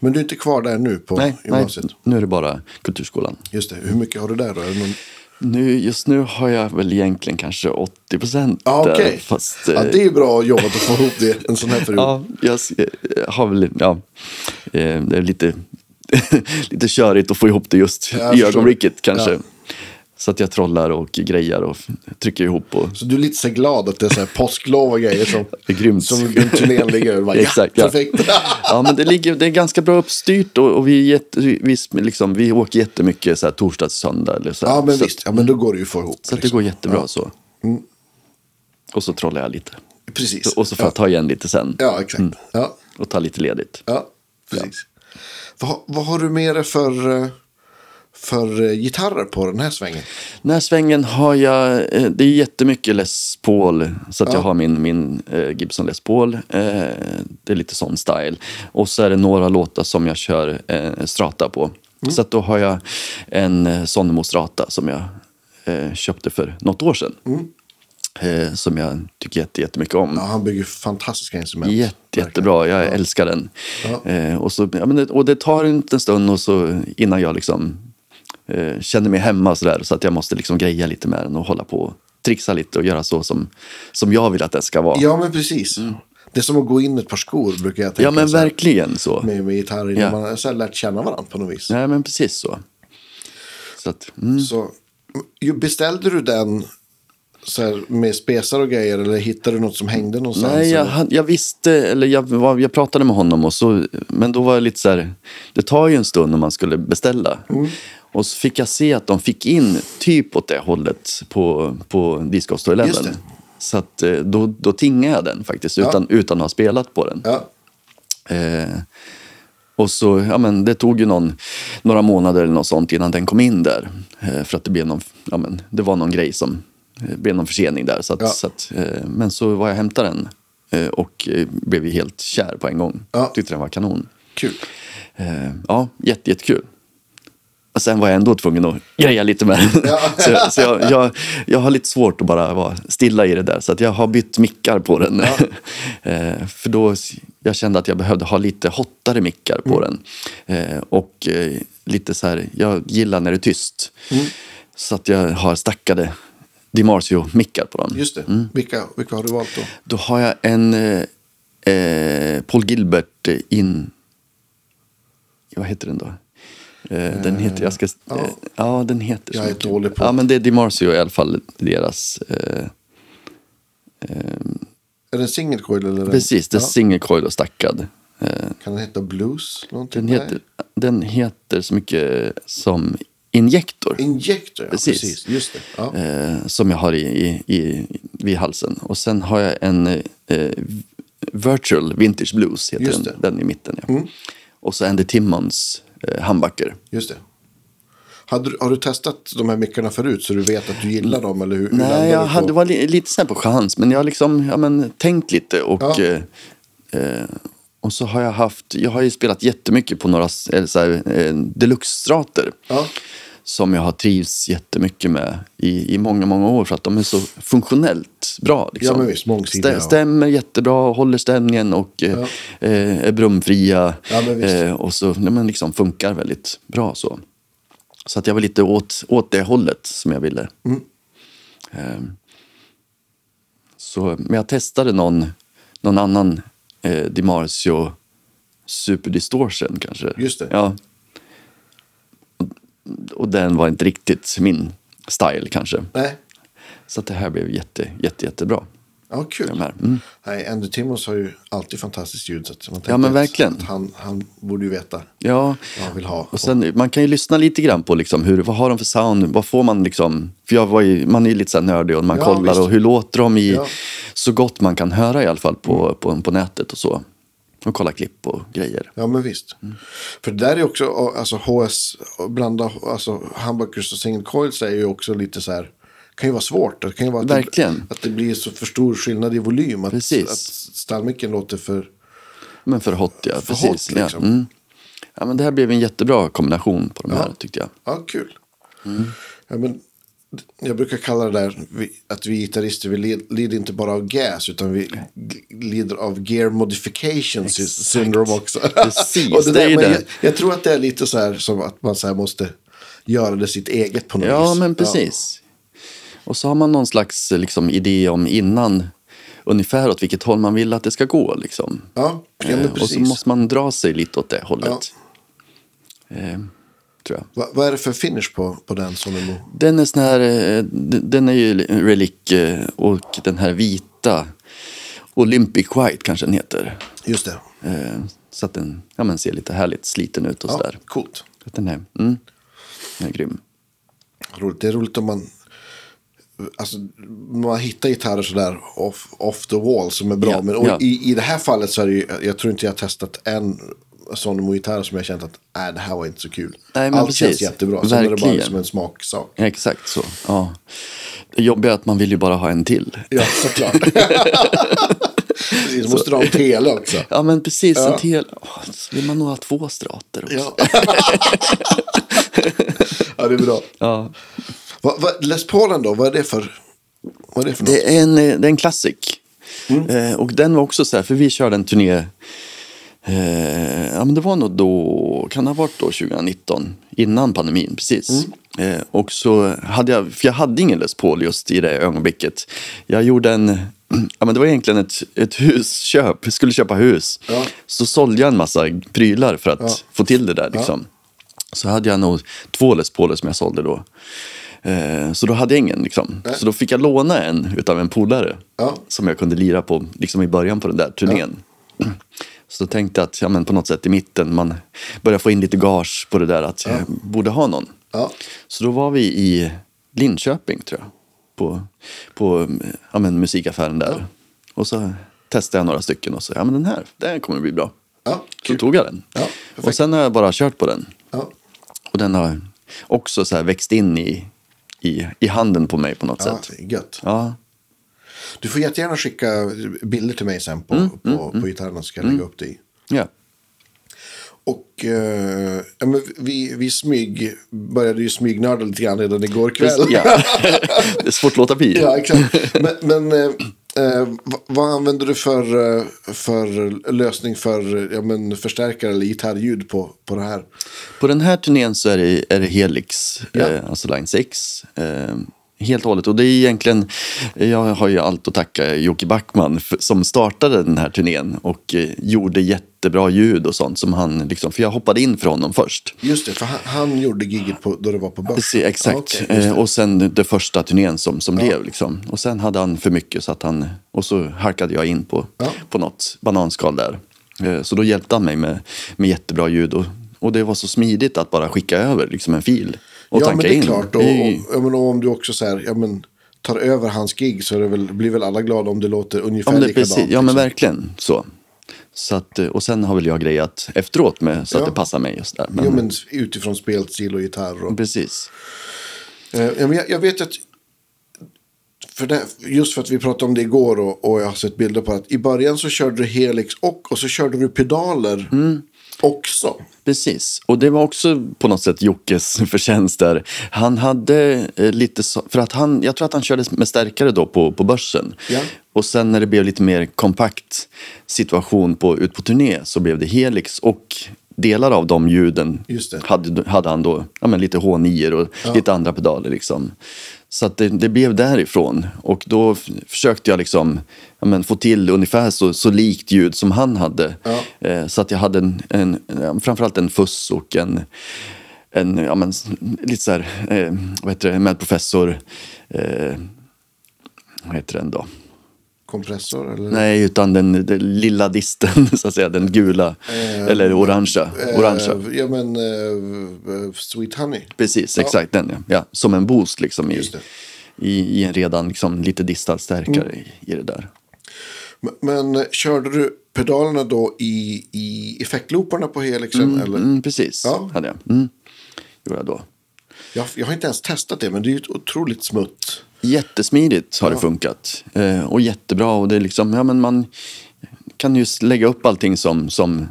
A: Men du är inte kvar där nu på
B: Nej, nej,
A: gymnasiet?
B: nu är det bara Kulturskolan.
A: Just det. Hur mycket har du där då? Är det någon...
B: Nu, just nu har jag väl egentligen kanske 80 procent.
A: Ja, okej.
B: Fast,
A: Ja,
B: eh,
A: det är ju bra jobbat att få ihop det en sån här period.
B: ja, jag s- eh, har väl, ja, eh, det är lite, lite körigt att få ihop det just
A: jag
B: i
A: förstår.
B: ögonblicket kanske.
A: Ja.
B: Så att jag trollar och grejar och f- trycker ihop och
A: Så du är lite så här glad att det är så här påsklov och grejer som,
B: det är grymt.
A: som en turnén ligger över. Bara,
B: Exakt,
A: ja,
B: ja.
A: perfekt.
B: ja, men det, ligger, det är ganska bra uppstyrt och, och vi, är jätte, vi, vi- liksom, vi åker jättemycket så här, torsdag till söndag. Eller så här.
A: ja, men
B: så,
A: visst. Mm. Ja, men då går det ju att få ihop.
B: så att det
A: liksom.
B: går jättebra så. Och så trollar jag lite.
A: Precis.
B: Och så Mm. får jag ta igen lite sen.
A: Ja, exakt. Ja,
B: och ta lite ledigt.
A: ja, precis. Vad, vad har du med dig för, eh, för eh, gitarrer på den här svängen?
B: Den här svängen har jag, eh, det är jättemycket Les Paul, så att
A: Ja.
B: jag har min, min eh, Gibson Les Paul. Eh, det är lite sån style. Och så är det några låtar som jag kör eh, strata på. Så att då har jag en eh, Sonnemo strata som jag eh, köpte för något år sedan. Eh, som jag tycker jätte, jättemycket om.
A: Ja, han bygger fantastiska instrument.
B: Jätte, jättebra, jag älskar den.
A: Ja.
B: Eh, och, så, ja, men det, och det tar inte en stund och så, innan jag liksom, eh, känner mig hemma så, där, så att jag måste liksom greja lite med den och hålla på och trixa lite och göra så som, som jag vill att den ska vara. Ja,
A: Ja, men precis. Det är som att gå in ett par skor brukar jag tänka.
B: Mm. men
A: så här,
B: verkligen så.
A: Med, med gitarrer,
B: Ja.
A: man har så här lärt känna varandra på något vis.
B: Nej, men precis så. så att, mm.
A: Så, ju- beställde du den så här, med spesar och grejer eller hittade du något som hängde någonstans?
B: Nej, jag,
A: eller?
B: han- jag visste, eller jag, var, jag pratade med honom, och så, men då var jag lite så här, det tar ju en stund om man skulle beställa.
A: Mm.
B: Och så fick jag se att de fick in typ åt det hållet på, på Discos
A: Just
B: 11.
A: det.
B: Så att, eh, då, då tingade jag den faktiskt, utan, utan att ha spelat på den.
A: Ja,
B: Eh, och så, ja, men det tog ju någon, några månader eller något sånt innan den kom in där. Eh, för att det, blev någon, ja, men, det var någon grej som eh, blev någon försening där. Så att,
A: Ja.
B: så att, eh, men så var jag och hämtade den eh, och eh, blev ju helt kär på en gång.
A: Ja.
B: Tyckte den var kanon.
A: kul.
B: Eh, ja, jätte, jättekul. Och sen var jag ändå tvungen att greja lite med den. så jag, så jag, jag, jag har lite svårt att bara vara stilla i det där. Så att jag har bytt mickar på den. eh, för då s- jag kände att jag behövde ha lite hottare mickar på
A: Mm.
B: den. Eh, och eh, lite så här, jag gillar när det är tyst.
A: Mm.
B: Så att jag har stackade DiMarzio-mickar på den.
A: Just det. Vilka, vilka har du valt då?
B: Då har jag en eh, eh, Paul Gilbert in... Vad heter den då? Eh, den heter... Jag ska, eh,
A: ja.
B: ja, den heter... så
A: Jag är
B: mycket.
A: dålig på-
B: Ja, men det är DiMarzio i alla fall, deras... Eh,
A: Är det en single coil? Eller en-
B: Precis, det är
A: Ja.
B: single coil och stackad. Eh,
A: Kan den heta blues? Någonting?
B: Den
A: Nej.
B: heter, den heter så mycket som injektor.
A: Injektor, ja.
B: Precis.
A: Precis. Just det. Ja.
B: eh, som jag har i, i, i, vid halsen. Och sen har jag en eh, v- Virtual Vintage Blues, heter
A: Just
B: den,
A: det. Mm.
B: den i mitten. Ja. Och så Andy Timmons eh, handbacker.
A: Just det. Hade, du- har du testat de här mickarna förut så du vet att du gillar dem? Eller hur, hur landar
B: Nej,
A: du
B: jag
A: på-
B: hade var li, lite sen på chans, men jag har liksom, ja, men, tänkt lite. Och,
A: Ja.
B: eh, eh, och så har jag haft, jag har ju spelat jättemycket på några s- eller så här, eh, deluxe-strater.
A: Ja.
B: Som jag har trivts jättemycket med i, i många, många år för att de är så funktionellt bra. Liksom.
A: Ja, men visst, mångsidiga,
B: Stä-
A: ja.
B: Stämmer jättebra, håller stämningen och eh, eh, är brumfria.
A: Ja, men visst.
B: eh, och så nej, men liksom funkar väldigt bra så. Så att jag var lite åt, åt det hållet som jag ville.
A: Mm.
B: Ehm, så, men jag testade någon, någon annan eh, DiMarzio Super Distortion kanske.
A: Just det.
B: Ja. Och- Och den var inte riktigt min style kanske.
A: Nej,
B: Så att det här blev jätte, jätte, jättebra.
A: ja, kul.
B: De här. Mm.
A: Nej, Andy Timmons har ju alltid fantastiskt ljud. Så att man
B: Ja,
A: tänker
B: men
A: att-
B: verkligen.
A: att Han, han borde ju veta
B: Ja.
A: vad han vill ha.
B: Och sen, man kan ju lyssna lite grann på liksom hur, vad har de för sound, vad får man liksom, för jag var ju, man är ju lite så här nördig och man
A: Ja,
B: kollar
A: visst.
B: och hur låter de i,
A: Ja. Mm.
B: så gott man kan höra i alla fall på, på, på nätet och så. Och kolla klipp och grejer.
A: Ja, men visst. För det där är också, alltså HS, blanda, alltså humbuckers och single coils är ju också lite så här, kan ju vara svårt. Det kan ju vara att,
B: Verkligen.
A: Det, att det blir så för stor skillnad i volym. Att,
B: Precis.
A: att stallmicken låter för,
B: Men för hot, ja.
A: För
B: precis.
A: hot, liksom.
B: ja. Mm. ja, men det här blev en jättebra kombination på de här tyckte jag.
A: ja kul. Ja, men, jag brukar kalla det där vi- att vi gitarrister vi led- lider inte bara av gas utan vi g- lider av gear modification sy- syndrome också.
B: Precis,
A: Och det
B: det är
A: där,
B: ju
A: men
B: det.
A: jag, jag tror att det är lite så här som att man så här måste göra det sitt eget på något
B: Ja,
A: vis.
B: men precis. Och så har man någon slags eh, liksom, idé om innan ungefär åt vilket håll man vill att det ska gå. Liksom.
A: Ja, ja
B: Eh,
A: men
B: och så
A: precis.
B: måste man dra sig lite åt det hållet. Eh, tror jag.
A: Va, vad är det för finish på, på den Sonemo?
B: Den är sån här, eh, d- den är ju relik eh, och den här vita Olympic White kanske den heter.
A: Just det.
B: Eh, så att den ja, men ser lite härligt sliten ut och
A: Ja,
B: sådär.
A: coolt.
B: Så att Den är, mm, den är grym.
A: Roligt. Det är roligt om man... Alltså, man hittar gitarrer sådär off, off the wall som är bra.
B: Ja,
A: men och
B: ja.
A: i, i det här fallet så är det ju, jag tror inte jag har testat en Sonemo-gitarr som jag känt att äh, det här var inte så kul.
B: Nej, men
A: Allt känns
B: precis.
A: jättebra. Sen är det bara
B: Verkligen.
A: liksom en smaksak.
B: Ja, exakt så. Ja. Det jobbiga är att man vill ju bara ha en till.
A: Ja, såklart. precis, måste du ha en tele också.
B: Ja, men precis.
A: Ja.
B: En till. Åh, så vill man nog ha två strater också.
A: Ja. ja, det är bra.
B: Ja.
A: Va, va, Les Paulen då, vad är det för, vad är det för något?
B: Det är en, eh, det är en klassik. Eh, och den var också så här, för vi körde en turné. Eh, ja, men det var nog då, kan det ha varit då 2019, innan pandemin, precis.
A: Mm.
B: Eh, och så hade jag, för jag hade ingen Les Paul just i det ögonblicket. Jag gjorde en, ja men det var egentligen ett, ett husköp, jag skulle köpa hus.
A: Ja.
B: Så sålde jag en massa prylar för att få till det där liksom. Så hade jag nog två Les Pauler som jag sålde då. Eh, så då hade jag ingen. Liksom.
A: Nej.
B: Så då fick jag låna en utav en polare
A: Ja.
B: som jag kunde lira på liksom i början på den där turnén. Så då tänkte jag att ja, men på något sätt i mitten, man börjar få in lite gage på det där att jag borde ha någon.
A: Ja.
B: Så då var vi i Linköping tror jag, på, på eh, ja, men musikaffären där. Och så testade jag några stycken och så, ja men den här, den här kommer bli bra.
A: Ja,
B: Så
A: kul.
B: tog jag den.
A: Ja, perfekt.
B: och sen har jag bara kört på den.
A: Ja.
B: Och den har också så här växt in i, i, i handen på mig på något
A: Ja,
B: sätt.
A: gött.
B: Ja,
A: Du får jättegärna skicka bilder till mig sen på,
B: Mm,
A: på, på gitarrerna så ska jag lägga upp det i.
B: ja.
A: Och eh, ja, men vi, vi smyg, började ju smygnörda lite grann redan igår kväll.
B: Precis, ja. Det är svårt att låta bli.
A: Ja, exakt. Men, men eh, eh, vad- vad använder du för, eh, för lösning för eh, ja, men förstärkare eller gitarrljud på, på det här?
B: På den här turnén så är det, är det Helix,
A: Ja.
B: eh, alltså Line 6. Eh, Helt och hållet. Och det är egentligen, jag har ju allt att tacka Jocke Backman för, som startade den här turnén och eh, gjorde jättebra ljud och sånt. Som han liksom, för jag hoppade in för honom först.
A: Just det, för han, han gjorde giget på, då det var på börs.
B: Precis, exakt.
A: Ja, okej, just
B: Eh, och sen den första turnén som, som blev. Liksom. Och sen hade han för mycket så att han, och så harkade jag in på,
A: Ja.
B: på något bananskal där. Eh, så då hjälpte han mig med, med jättebra ljud. Och, och det var så smidigt att bara skicka över liksom, en fil och
A: ja,
B: tanka
A: men det är
B: in.
A: klart. Och, och, ja, men om du också så här, ja, men, tar över hans gig så är det väl, blir väl alla glada om det låter ungefär
B: Ja, men, det,
A: likadant.
B: precis, ja, men
A: liksom.
B: verkligen så. så att, eh, och sen har väl jag grejat efteråt med, så
A: Ja.
B: att det passar mig just där. Men,
A: Jo, men utifrån spelstil och gitarr. Och,
B: Precis.
A: Eh, ja, men jag, jag vet att, för det, just för att vi pratade om det igår och, och jag har sett bilder på att i början så körde du Helix och, och så körde du pedaler
B: Mm.
A: också.
B: Precis, och det var också på något sätt Jockes förtjänst där. Han hade eh, lite så, för att han, jag tror att han körde med stärkare då på, på börsen.
A: Ja.
B: Och sen när det blev lite mer kompakt situation på, ut på turné så blev det Helix och delar av de ljuden
A: Just det.
B: Hade, hade han då ja, men lite H9 och lite andra pedaler liksom. Så att det, det blev därifrån och då f- försökte jag liksom, ja, men få till ungefär så, så likt ljud som han hade.
A: Ja.
B: Eh, så att jag hade en, en, eh, framförallt en fuss och en, en ja, men, s- lite så här, eh, vad heter det, med professor, eh, vad heter den då?
A: Kompressor eller?
B: Nej, utan den, den lilla disten, så att säga, den gula, eller orangea.
A: Eh,
B: orangea.
A: ja, men eh, eh, Sweet Honey.
B: Precis, exakt den ja. ja. Som en boost liksom i,
A: Just det. Mm.
B: i, i en redan liksom lite distad stärkare i, i det där.
A: Men, men eh, körde du pedalerna då i, i effektlooparna på Helixen? Eller?
B: Mm, precis,
A: Ja.
B: hade jag. Mm. Gjorde jag då.
A: Jag, jag har inte ens testat det, men det är ju ett otroligt smutt.
B: Jättesmidigt har det funkat. Eh, och jättebra. Och det är liksom, ja, men man kan ju lägga upp allting som, som,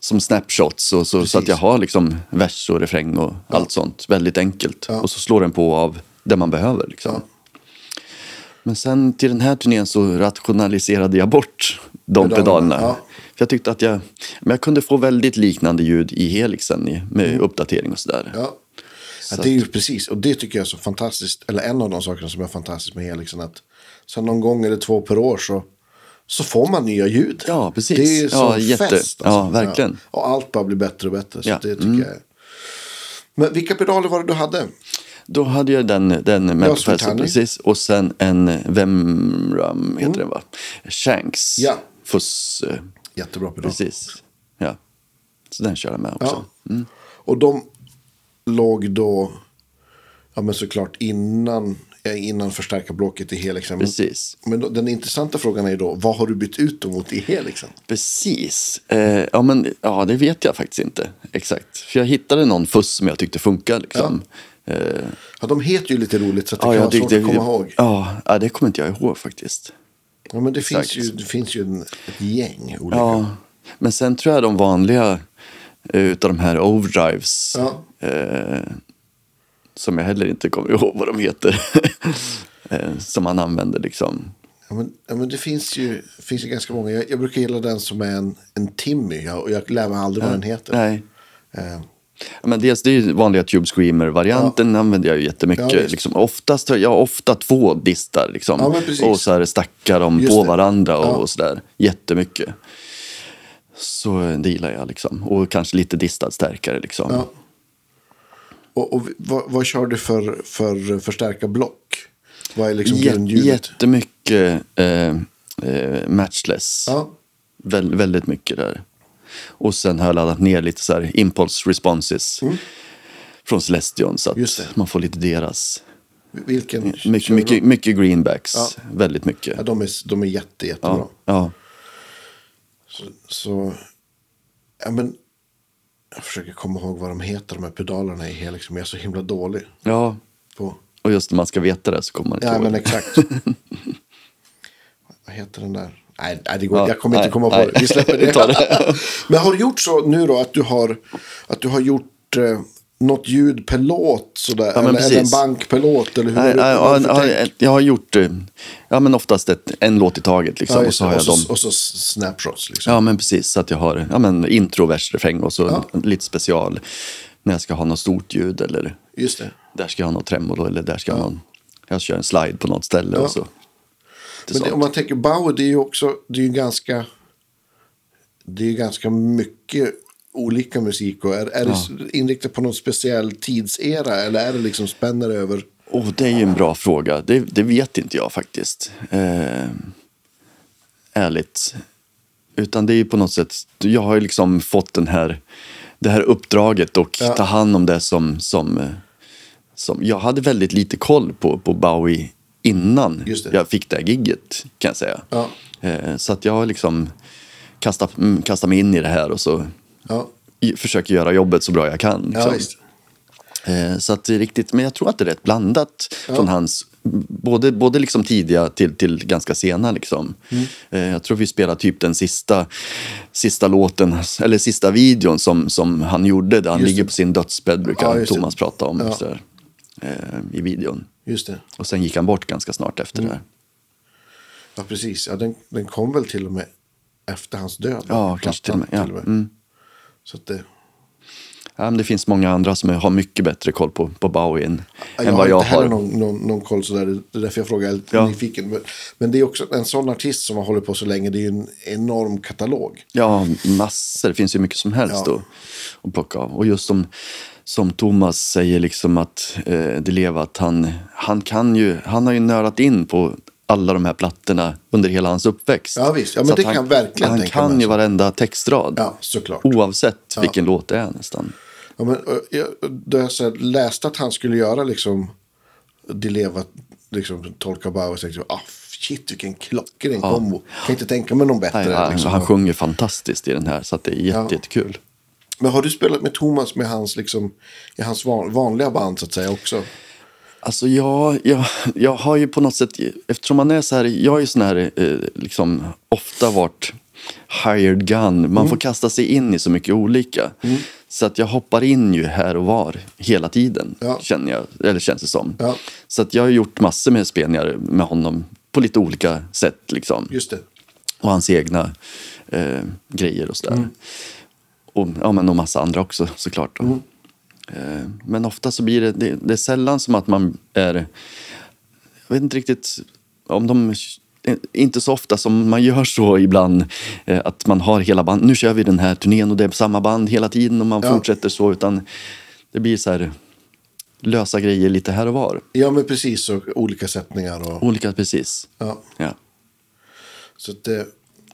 B: som snapshots. Och så, så att jag har liksom vers och refräng och allt sånt. Väldigt enkelt. Och så slår den på av det man behöver. Liksom. Men sen till den här turnén så rationaliserade jag bort de
A: Pedalerna,
B: pedalerna.
A: ja.
B: För jag tyckte att jag, men jag kunde få väldigt liknande ljud i helixen i- med uppdatering och sådär.
A: Mm. Ja. Ja,
B: Så
A: det är ju precis, och det tycker jag är så fantastiskt, eller en av de sakerna som är fantastiskt med Helixen, att sen någon gång eller två per år så, så får man nya ljud.
B: Ja, precis.
A: Det är ju
B: Ja,
A: som
B: jätte-
A: fest. alltså.
B: ja, verkligen.
A: Och allt bara blir bättre och bättre, så
B: Ja, mm.
A: det tycker jag är. Men vilka pedaler var det du hade?
B: Då hade jag den, den med
A: Ja,
B: professor,
A: Sultani.
B: precis. Och sen en Vemram, heter den va? Shanks.
A: Mm. Ja.
B: Fuss. eh,
A: Jättebra pedal.
B: Precis. Ja. Så den kör jag med också. Mm.
A: Ja. Och de låg då, ja men såklart innan, eh, innan förstärkarblocket i Helixen. Men-
B: Precis.
A: Men då, den intressanta frågan är ju då, vad har du bytt ut dem mot i Helixen?
B: Precis. Eh, ja, men, ja, det vet jag faktiskt inte exakt. För jag hittade någon fuss som jag tyckte funkar. Liksom. Eh,
A: Ja, de heter ju lite roligt så att det
B: ja,
A: kan
B: jag
A: vara svårt
B: tyckte,
A: att komma ihåg.
B: Ja, ja, det kommer inte jag ihåg faktiskt.
A: Ja, men det
B: Exakt.
A: finns ju, det finns ju en, ett gäng olika.
B: Ja, men sen tror jag de vanliga eh, utav de här overdrives
A: Ja.
B: eh, som jag heller inte kommer ihåg vad de heter eh, som man använder liksom.
A: Ja, men, ja, men det finns ju, finns ju ganska många. Jag, jag brukar gilla den som är en, en Timmy ja, och jag lär mig aldrig vad den heter.
B: Nej.
A: Eh,
B: Ja, Men dels det är ju vanliga Tube Screamer-varianten använder jag ju jättemycket.
A: Ja, visst.
B: liksom, oftast, har jag har ofta två distar liksom,
A: Ja, men precis.
B: och så här stackar de
A: Just
B: på
A: det.
B: varandra och,
A: Ja.
B: och sådär jättemycket. Så eh, det gillar jag liksom. Och kanske lite distad stärkare liksom.
A: ja. Och, och vad, vad kör du för, för förstärka block? Vad är liksom
B: Jä-
A: grundljudet?
B: jättemycket eh, eh, matchless.
A: Ja.
B: Väl, väldigt mycket där. Och sen har jag laddat ner lite så här impulse responses från Celestion så
A: Mm. Just det.
B: att man får lite deras.
A: Vilken?
B: Mycket,
A: kör du?
B: mycket, mycket greenbacks, väldigt mycket.
A: Ja, de är, de är jätte, jättebra.
B: Ja, ja.
A: Så, ja men, jag försöker komma ihåg vad de heter, de här pedalerna i Helix, men jag är så himla dålig
B: ja,
A: på.
B: och just när man ska veta det så kommer man inte
A: Ja,
B: ihåg
A: men
B: det.
A: exakt. vad heter den där? Nej, nej det går,
B: Ja,
A: jag kommer
B: nej,
A: inte komma på
B: nej.
A: det. Vi släpper
B: Vi
A: det.
B: tar det.
A: men har du gjort så nu då, att du har, att du har gjort eh, något ljud per låt sådär?
B: Ja, men
A: eller, eller en
B: precis.
A: bank per låt? Eller hur,
B: Nej,
A: hur-
B: nej,
A: vad har
B: ja,
A: du för
B: ja,
A: tänk?
B: ett- jag har gjort eh, ja, men oftast ett, en låt i taget liksom,
A: Ja,
B: och
A: just
B: så
A: det.
B: har jag
A: och,
B: dem
A: så, och så snapshots liksom.
B: Ja, men precis. Så att jag har ja, men intro, vers, refräng och så lite special när jag ska ha något stort ljud eller
A: Just det.
B: där ska jag ha något tremolo eller där ska jag ha någon jag kör en slide på något ställe
A: Ja.
B: och så.
A: Men det,
B: Till sånt.
A: om man tänker Bauer, det är ju också, det är ju ganska, det är ju ganska mycket olika musik. Och är, är det inriktat på någon speciell tidsera eller är det liksom spänner över?
B: Oh, det är ju en bra fråga. Det, det vet inte jag faktiskt. Eh, ärligt. Utan det är ju på något sätt, jag har ju liksom fått den här, det här uppdraget och
A: Ja.
B: ta hand om det som, som, eh, som... Jag hade väldigt lite koll på, på Bowie innan
A: Just det.
B: jag fick det här gigget kan jag säga.
A: Ja.
B: Eh, så att jag har liksom kastat, mm, kastat mig in i det här och så
A: Ja,
B: i- försöker göra jobbet så bra jag kan.
A: ja
B: liksom.
A: visst.
B: Eh, Så att det är riktigt, men jag tror att det är rätt blandat från hans, både, både liksom tidiga till, till ganska sena. Liksom.
A: Mm.
B: Eh, Jag tror vi spelar typ den sista, sista låten, eller sista videon som, som han gjorde, där han
A: Just det.
B: ligger på sin dödsbädd,
A: Ja,
B: brukar
A: just det.
B: Thomas prata om
A: Ja.
B: så där, eh, i videon.
A: Just det.
B: Och sen gick han bort ganska snart efter
A: Mm.
B: det.
A: Ja, precis. Ja, den, den kom väl till och med efter hans död.
B: Ja, kanske till och med. Ja. Mm.
A: Så att det,
B: Ja, men det finns många andra som har mycket bättre koll på, på Bowie än,
A: jag
B: än
A: har
B: vad jag
A: inte heller
B: har.
A: någon, någon, någon koll sådär. Det är därför jag frågar. Jag är lite
B: Ja.
A: nyfiken. Men, men det är också en sån artist som har hållit på så länge. Det är ju en enorm katalog.
B: Ja, massor. Det finns ju mycket som helst
A: Ja.
B: att, att plocka av. Och just som, som Thomas säger, liksom att eh, det lever att han, han, kan ju, han har ju nördat in på alla de här plattorna under hela hans uppväxt.
A: Ja, visst. Ja, men
B: Så att
A: det kan jag verkligen
B: Han
A: tänka
B: kan
A: mig.
B: ju varenda textrad,
A: Ja, såklart.
B: Oh. oavsett vilken låt det är nästan.
A: Ja, men, eh, jag, då jag så här, läste att han skulle göra liksom, Di Leva, liksom, tolka Bauer och tänkte jag, ah, shit vilken klockren kombo. Kan inte tänka mig någon bättre.
B: Nej, han,
A: liksom.
B: han sjunger fantastiskt i den här, så att det är jätte,
A: Ja.
B: jättekul.
A: Men har du spelat med Thomas med hans, liksom, i hans van, vanliga band så att säga också?
B: Alltså jag, jag, jag har ju på något sätt, eftersom man är så här, jag är ju sån här, eh, liksom ofta varit hired gun. Man
A: Mm.
B: får kasta sig in i så mycket olika. Så att jag hoppar in ju här och var hela tiden,
A: Ja.
B: känner jag, eller känns det som.
A: Ja.
B: Så att jag har gjort massor med spelningar med honom på lite olika sätt. Liksom
A: Just det.
B: och hans egna eh, grejer och sådär. Och, ja, men och massa andra också såklart. Då. Eh, men ofta så blir det, det, det är sällan som att man är, jag vet inte riktigt om de, eh, inte så ofta som man gör så ibland, eh, att man har hela band, nu kör vi den här turnén och det är samma band hela tiden och man
A: Ja.
B: fortsätter så, utan det blir så här lösa grejer lite här och var.
A: Ja, men precis. Och olika sättningar och...
B: Olika precis.
A: Ja,
B: Ja.
A: så att det,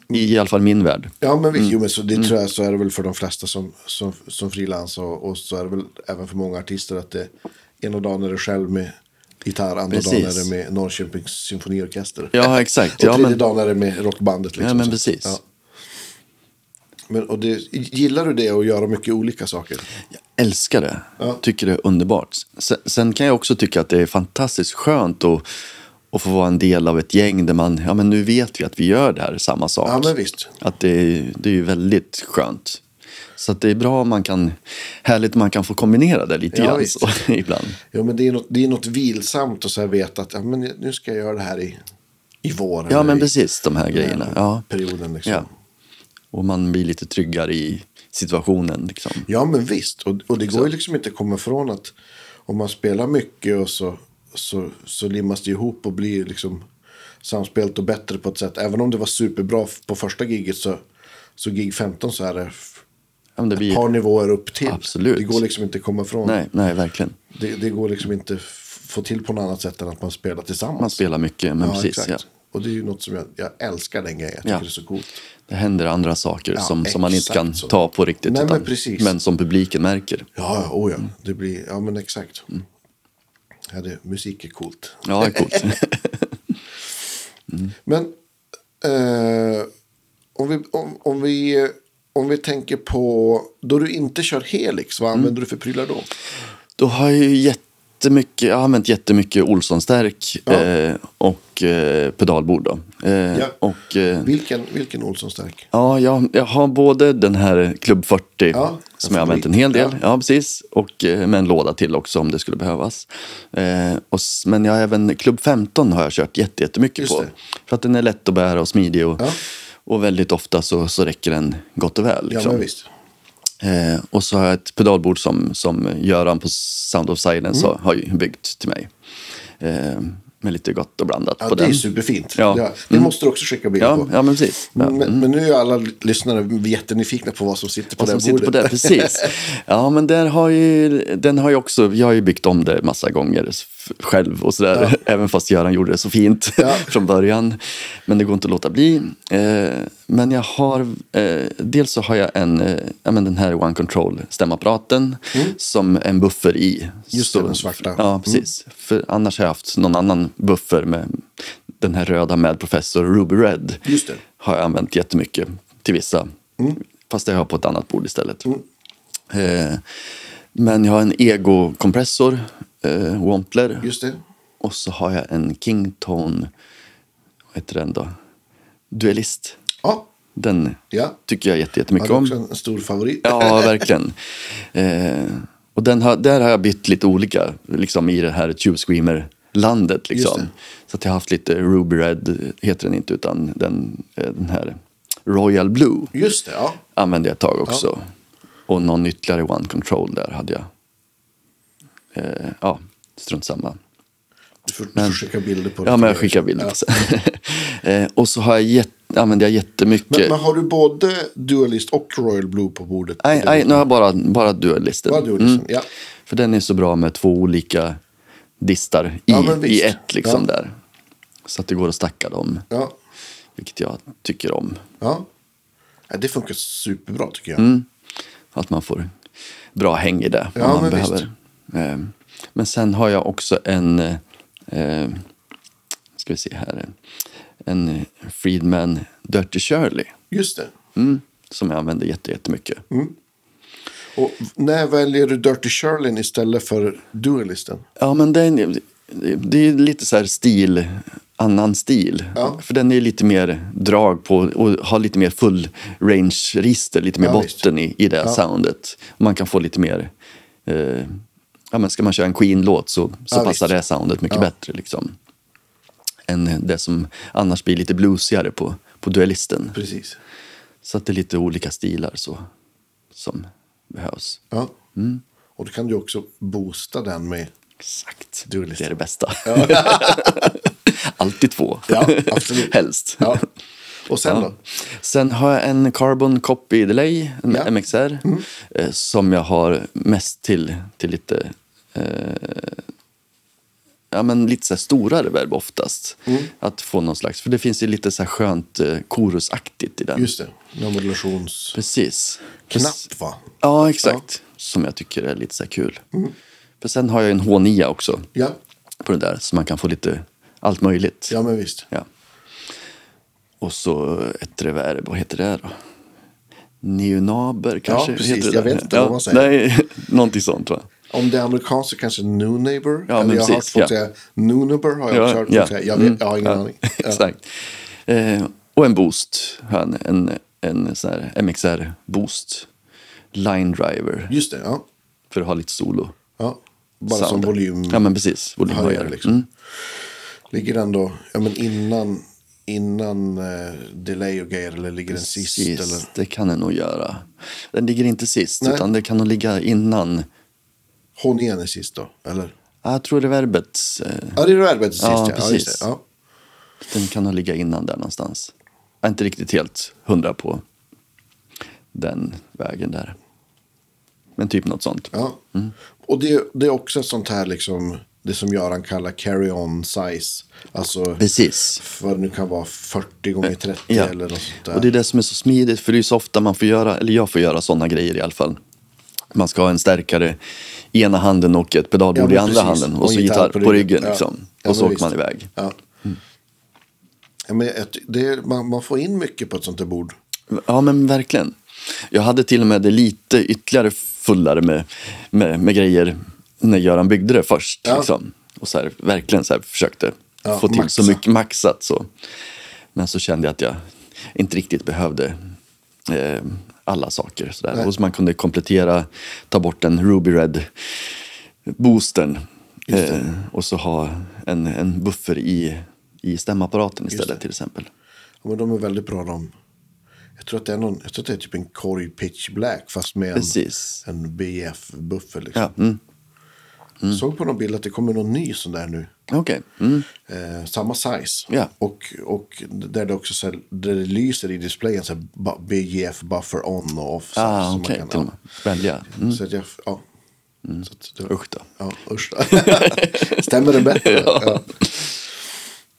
B: I, I alla fall min värld.
A: ja men visst.
B: Mm.
A: Jo, men så, det tror jag så är det väl för de flesta som, som, som frilans och, och så är det väl även för många artister att det ena dagen är det själv med gitarr, andra
B: Precis.
A: dagen är det med Norrköpings symfoniorkester.
B: Ja, exakt.
A: Och
B: Ja,
A: tredje
B: men-
A: dagen är det med rockbandet. Liksom.
B: Ja, men
A: Så-
B: precis.
A: Ja. Men, och det, gillar du det att göra mycket olika saker?
B: Jag älskar det.
A: Ja.
B: Tycker det är underbart. Sen, sen kan jag också tycka att det är fantastiskt skönt att, att få vara en del av ett gäng där man, ja men nu vet vi att vi gör det här, samma sak.
A: Ja, men visst.
B: Att det, är- det är ju väldigt skönt. Så att det är bra om man kan, härligt om man kan få kombinera det lite
A: Ja,
B: grann
A: visst.
B: så, ibland.
A: Ja, men det är något, det är något vilsamt att så här veta att ja, men nu ska jag göra det här i, i vår.
B: Ja
A: eller
B: men
A: i
B: precis, de här
A: den här
B: grejerna. Ja.
A: Perioden liksom.
B: ja.
A: Ja.
B: Och man blir lite tryggare i situationen liksom.
A: men visst. Och, och det går ju liksom inte att komma ifrån att om man spelar mycket och så, så, så limmas det ihop och blir liksom samspelt och bättre på ett sätt. Även om det var superbra f- på första giget så, så gig 15 så är det f-
B: Ja, men det
A: ett par
B: blir,
A: nivåer upp till.
B: Absolut.
A: Det går liksom inte att komma ifrån.
B: nej, nej, verkligen.
A: Det, det går liksom inte f- få till på något annat sätt än att man spelar tillsammans.
B: Man spelar mycket, men precis. Ja.
A: Och det är ju något som jag, jag älskar den grejen. Jag tycker
B: Ja.
A: det är så coolt.
B: Det händer andra saker
A: Ja,
B: som, som man inte
A: exakt
B: kan
A: så.
B: ta på riktigt.
A: Nej, men precis.
B: men som publiken märker.
A: Ja, ja, oh ja.
B: Mm.
A: Det blir, ja men exakt. Ja, det, musik är coolt.
B: Ja, det är coolt.
A: Men eh, om, vi, om, om, vi, om vi tänker på, då du inte kör Helix,
B: Mm.
A: vad använder du för prylar då?
B: Då har jag ju jättemycket, jag har använt jättemycket Olsson-stärk
A: Ja.
B: eh, och eh, pedalbord. Då. Eh,
A: Ja.
B: Och, eh,
A: Vilken, vilken Olsson stark?
B: Ja, jag, jag har både den här Club 40
A: Ja, alltså
B: som jag har använt en hel del, ja. precis, och eh, med en låda till också om det skulle behövas. Eh, och, s- men jag har även Club 15 har jag kört jätte- jättemycket
A: Just
B: på.
A: det.
B: För att den är lätt att bära och smidig och,
A: Ja.
B: och väldigt ofta så, så räcker den gott och väl.
A: Ja,
B: Liksom.
A: men visst.
B: eh, och så har jag ett pedalbord
A: Mm.
B: som, som Göran på Sound of Silence har, har ju byggt till mig. Eh, med lite gott och blandat
A: Ja,
B: på
A: det
B: den.
A: är superfint.
B: Ja. Mm.
A: Ja. Det måste du också skicka bild
B: Ja,
A: på.
B: ja, men precis. Ja.
A: Men, men nu är alla lyssnare jättenyfikna på vad som sitter på
B: Vad
A: det
B: som
A: här
B: sitter på
A: bordet.
B: det, precis. Ja, men den har ju, den har ju också, jag har ju byggt om det massa gånger f- själv och sådär, även fast Göran gjorde det så fint från början. Men det går inte att låta bli. Eh, men jag har, eh, dels så har jag en, eh, ja, men den här One Control stämapparaten som en buffer i.
A: Mm. Just det,
B: så,
A: den svarta.
B: Ja, precis. För annars har jag haft någon annan buffer med den här röda med professor Ruby Red.
A: Just det. Mm.
B: Har jag använt jättemycket till vissa. Fast det har jag på ett annat bord istället. Eh, men jag har en Ego-kompressor, eh, Wampler.
A: Just det.
B: Och så har jag en Kingtone, vad heter den då? Duellist.
A: Ja,
B: Den
A: Ja.
B: tycker jag jätte-
A: det
B: jättemycket
A: är
B: om.
A: också en stor favorit.
B: Ja, verkligen. Eh, och den har, där har jag bytt lite olika liksom, i det här Tube
A: Just
B: Screamer-landet. Liksom.
A: det.
B: Så att jag har haft lite Ruby Red, heter den inte, utan den, eh, den här Royal Blue
A: Just det, ja.
B: använde jag ett tag också. Och någon ytterligare One Control där hade jag. Eh, ja, strunt samma.
A: Du får, du får skicka bilder på det. Alltså,
B: Ja, men jag skickar bilder på sen. eh, och så har jag jätt, använder jag jättemycket...
A: Men, men har du både Dualist och Royal Blue på bordet?
B: Nej, nej, nu har jag bara, bara duellisten. Mm.
A: Bara Dualisten, ja.
B: För den är så bra med två olika distar i,
A: Ja, men visst.
B: i ett liksom
A: Ja.
B: där. Så att det går att stacka dem,
A: Ja.
B: vilket jag tycker om.
A: ja. ja. Det funkar superbra tycker jag.
B: Mm. Att man får bra häng i det
A: Ja,
B: om man
A: men
B: behöver. Eh, Men sen har jag också en, eh, ska vi se här, en Friedman Dirty Shirley.
A: Just det.
B: Mm, som jag använder jätte- jättemycket.
A: Och när väljer du Dirty Shirley istället för Dualisten?
B: Ja, men den, det är lite så här stil, annan stil.
A: Ja.
B: För den är lite mer drag på och har lite mer full range-register, lite mer
A: Ja, visst.
B: botten i, i det soundet. Man kan få lite mer... Eh, ja, men ska man köra en Queen-låt så, så
A: Ja,
B: passar
A: visst.
B: det soundet mycket bättre. Liksom, än det som annars blir lite bluesigare på, på duellisten.
A: Precis.
B: Så att det är lite olika stilar så, som behövs.
A: Ja.
B: Mm.
A: Och då kan du också boosta den med.
B: Exakt.
A: Duellist.
B: Det är det bästa. Alltid två.
A: Ja, absolut.
B: Helst.
A: Ja. Och sen
B: Ja.
A: då?
B: Sen har jag en Carbon Copy Delay, en
A: Ja. Mm.
B: MXR, eh, som jag har mest till, till lite, eh, ja, men lite så här stora reverb oftast.
A: Mm.
B: Att få någon slags, för det finns ju lite så här skönt eh, korusaktigt i den.
A: Just det. Någon modulationsknapp
B: Precis.
A: va?
B: Ja, exakt. Som jag tycker är lite så här kul.
A: Mm.
B: För sen har jag en H9 också
A: Ja.
B: på den där, så man kan få lite allt möjligt.
A: ja, men visst.
B: Ja. Och så ett reverb, vad heter det då? Neonaber kanske?
A: precis.
B: Heter det
A: Jag
B: där?
A: vet inte vad man säger.
B: Nej, någonting sånt va?
A: Om det är amerikanskt så kanske New Neighbor.
B: Ja, men
A: Eller jag har hört
B: precis,
A: folk
B: ja.
A: säga Noonaber. Har jag
B: Ja,
A: också hört folk
B: ja.
A: säga. Jag, vet,
B: Mm.
A: jag har ingen
B: Ja,
A: aning. Ja.
B: Exakt. Eh, och en boost, har jag en, en, en sån här MXR-boost. Line driver,
A: Just det, ja.
B: för att ha lite solo.
A: ja. Bara som
B: sound.
A: volym.
B: Ja, men precis. Volymhöjare.
A: höjare, liksom.
B: Mm.
A: Ligger den då ja, men innan, innan eh, delay och grejer? Eller ligger den sist?
B: Sist,
A: Eller?
B: det kan den nog göra. Den ligger inte sist,
A: Nej.
B: utan det kan nog ligga innan.
A: Hon igen är sist då? Eller?
B: Ah, Jag tror reverbet, eh,
A: Ja, det är arbetet sist.
B: Ja,
A: Ja, ja,
B: precis.
A: just det, ja.
B: den kan nog ligga innan där någonstans. Jag är inte riktigt helt hundra på den vägen där. Men typ något sånt.
A: Ja. Och det, det är också ett sånt här, liksom, det som Göran kallar carry-on size. Alltså,
B: Precis.
A: vad det nu kan vara, 40 gånger 30
B: Ja.
A: eller något sånt där.
B: Och det är det som är så smidigt, för det är ju så ofta man får göra, eller jag får göra sådana grejer i alla fall. Man ska ha en stärkare i ena handen och ett pedalbord
A: Ja,
B: i
A: men
B: andra
A: precis.
B: handen
A: Och
B: och så
A: en
B: gitarr på ryggen. liksom.
A: Ja. Ja,
B: och så
A: men
B: åker
A: visst.
B: man iväg. Mm.
A: Ja. Ja, men ett, det är, man, man får in mycket på ett sånt där bord.
B: Ja, men verkligen. Jag hade till och med det lite ytterligare fullare med, med, med grejer när Göran byggde det först.
A: Ja.
B: Liksom. Och så här, verkligen så här, försökte
A: Ja,
B: få till
A: maxa.
B: så mycket maxat. Så. Men så kände jag att jag inte riktigt behövde eh, alla saker. Så där. Och så man kunde komplettera, ta bort den Ruby Red boosten eh, och så ha en, en buffer i, i stämapparaten istället till exempel.
A: Ja, men de är väldigt bra de. Jag tror att det är, någon, jag tror att det är typ en Korg Pitch Black fast med en,
B: Precis.
A: en BF-buffer. Liksom.
B: Ja, mm.
A: Såg på någon bild att det kommer någon ny sån där nu.
B: Okej. Mm.
A: Eh, samma size.
B: Ja.
A: Och, och där det också så här, där det lyser i displayen så här, bu- BGF buffer on och off. Så,
B: Ah,
A: så man
B: okej.
A: kan-
B: Till och med. Välja.
A: ja. Så att jag, ja. Så att det,
B: Usch då.
A: Ja, usch då. Stämmer det bättre? ja.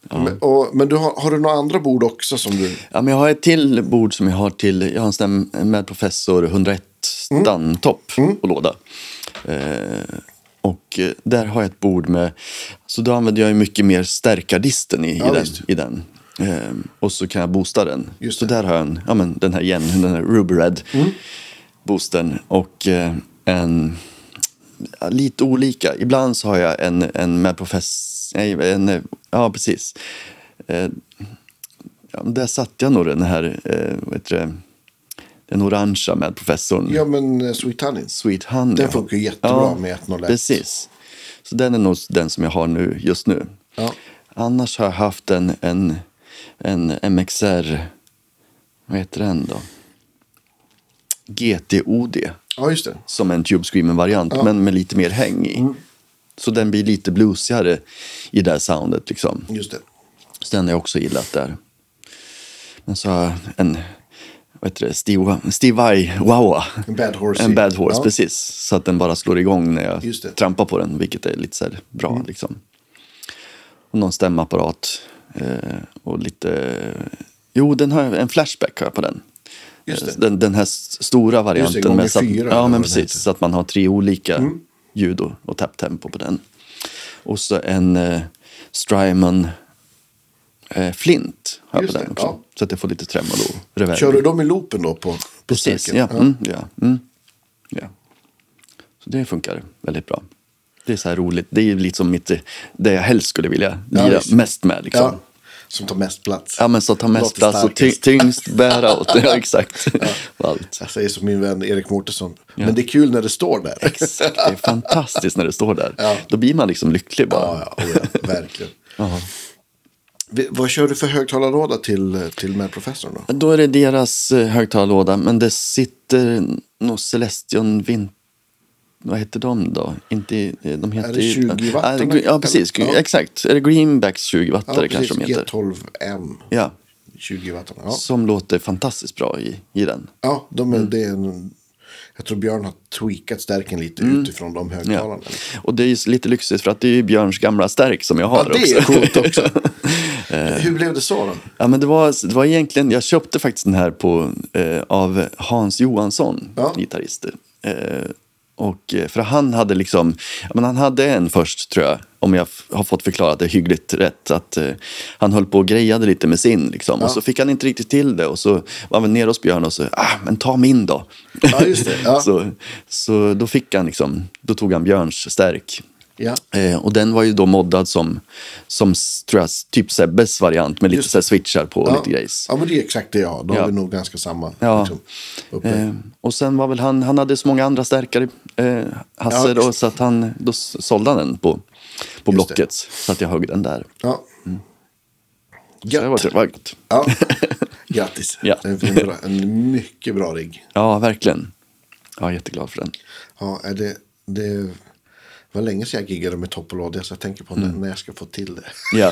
A: Men, och, men du har, har du några andra bord också som du...
B: Ja, men jag har ett till bord som jag har till, jag har en sån där med professor 101 Stantopp
A: Mm.
B: och låda. Eh, och eh, där har jag ett bord med, så då använder jag ju mycket mer stärkardisten i,
A: Ja,
B: i den.
A: visst.
B: I den. Eh, och så kan jag boosta den.
A: Just
B: så
A: det. Mm.
B: där har jag en, ja, men den här igen, den här Ruby Red boosten. Och eh, en, ja, lite olika. Ibland så har jag en, en med professor, nej, en, eh, ja precis. Eh, Ja, men där satte jag nog den här, eh, vad heter det, den orangea med professorn.
A: Ja, men eh, Sweet Honey.
B: Sweet Honey.
A: Den funkar ju jättebra med 101.
B: Precis. Så den är nog den som jag har nu, just nu.
A: Ja.
B: Annars har jag haft en, en, en MXR, vad heter den då? GTOD,
A: ja, just det.
B: som en Tube Screamer-variant, men med lite mer häng i.
A: Mm.
B: Så den blir lite bluesigare i det här soundet liksom.
A: Just det.
B: Så den har jag också gillat där. Men så har jag en, vad heter det, Steve, Steve Vai Wawa.
A: En bad horse.
B: En bad horse,
A: Ja.
B: precis. Så att den bara slår igång när
A: Just det. Mm.
B: jag trampar på den, vilket är lite så här bra liksom. Och någon stämapparat eh, och lite... Jo, den har en flashback har jag på den.
A: Just det.
B: Eh, Den, den här s- stora varianten.
A: gånger
B: så att,
A: fyra, eller
B: ja,
A: vad den
B: men precis.
A: heter. Mm.
B: Så att man har tre olika ljud och, och tapptempo på den. Och så en eh, Strymon eh, Flint har jag
A: Just
B: på den
A: det,
B: också.
A: ja.
B: Så att jag får lite tremolo och reverb.
A: Kör du dem i loopen då? På, på
B: Precis,
A: sträcken?
B: ja. Mm, ja, mm, ja. Så det funkar väldigt bra. Det är så här roligt. Det är ju liksom mitt, det jag helst skulle vilja lira
A: visst.
B: mest med. Liksom.
A: Ja,
B: Ja.
A: som tar mest plats.
B: men så ta mest
A: Låter
B: plats och ty-
A: starkast.
B: tyngst bära åt. Ja, exakt. Och Allt.
A: Jag säger som min vän Erik Mårtensson. Men det är kul när det står där.
B: Exakt. Det är fantastiskt när det står där.
A: Ja.
B: Då blir man liksom lycklig bara.
A: Ja, ja, oh ja verkligen. Vi- Vad kör du för högtalarlåda till, till med professorn då?
B: Då är det deras eh, högtalarlåda, men det sitter nog Celestion Vint... Vad heter de då? Inte, i- eh, de heter
A: Är det
B: ju-
A: 20 watt
B: Ja,
A: de
B: gre-
A: heter?
B: Ja, precis.
A: Ja.
B: Exakt. Är det Greenbacks 20 wattare kanske de heter?
A: G12M.
B: Ja,
A: 20 watt. Ja,
B: som låter fantastiskt bra i, i den.
A: ja de är,
B: Mm.
A: det är en, jag tror Björn har tweakat stärken lite utifrån de högtalarna.
B: Mm. Ja. Och det är ju så lite lyxigt för att det är ju Björns gamla stärk som jag har
A: Ja, det är
B: också. Eh.
A: coolt också. Eh, Hur blev det så då?
B: Ja, men det, var, det var egentligen, jag köpte faktiskt den här på, eh, av Hans Johansson,
A: Ja.
B: gitarrist. Eh, och, eh, för han hade liksom, ja, men han hade en först tror jag, om jag f- har fått förklarat det hyggligt rätt. Att, eh, han höll på och grejade lite med sin liksom, och så fick han inte riktigt till det. Och så var vi nere hos Björn och så, ah, men ta min då.
A: Ja, just det. Ja.
B: så, så då fick han liksom, då tog han Björns stärk.
A: Ja.
B: Eh, och den var ju då moddad som, som s- tror jag, typ Sebbes variant med lite så här switchar på och
A: Ja.
B: lite grejs.
A: ja, men det är exakt det jag har. Då
B: Ja.
A: har vi nog ganska samma.
B: Ja.
A: Liksom, uppe.
B: Eh, och sen var väl han, han hade så många andra stärkare, eh, Hasse,
A: Ja,
B: då,
A: just-
B: så att han, då s- sålde han den på, på
A: Just det.
B: Blocket. Så att jag högg den där.
A: ja.
B: Så det var, det var gott.
A: Ja. Grattis.
B: Ja.
A: Det är En, bra, en mycket bra rigg.
B: Ja, verkligen. Jag är jätteglad för den.
A: Ja, är det, det var länge sedan jag giggade med topp och låda, så jag tänker på
B: Mm.
A: när, när jag ska få till det.
B: Ja.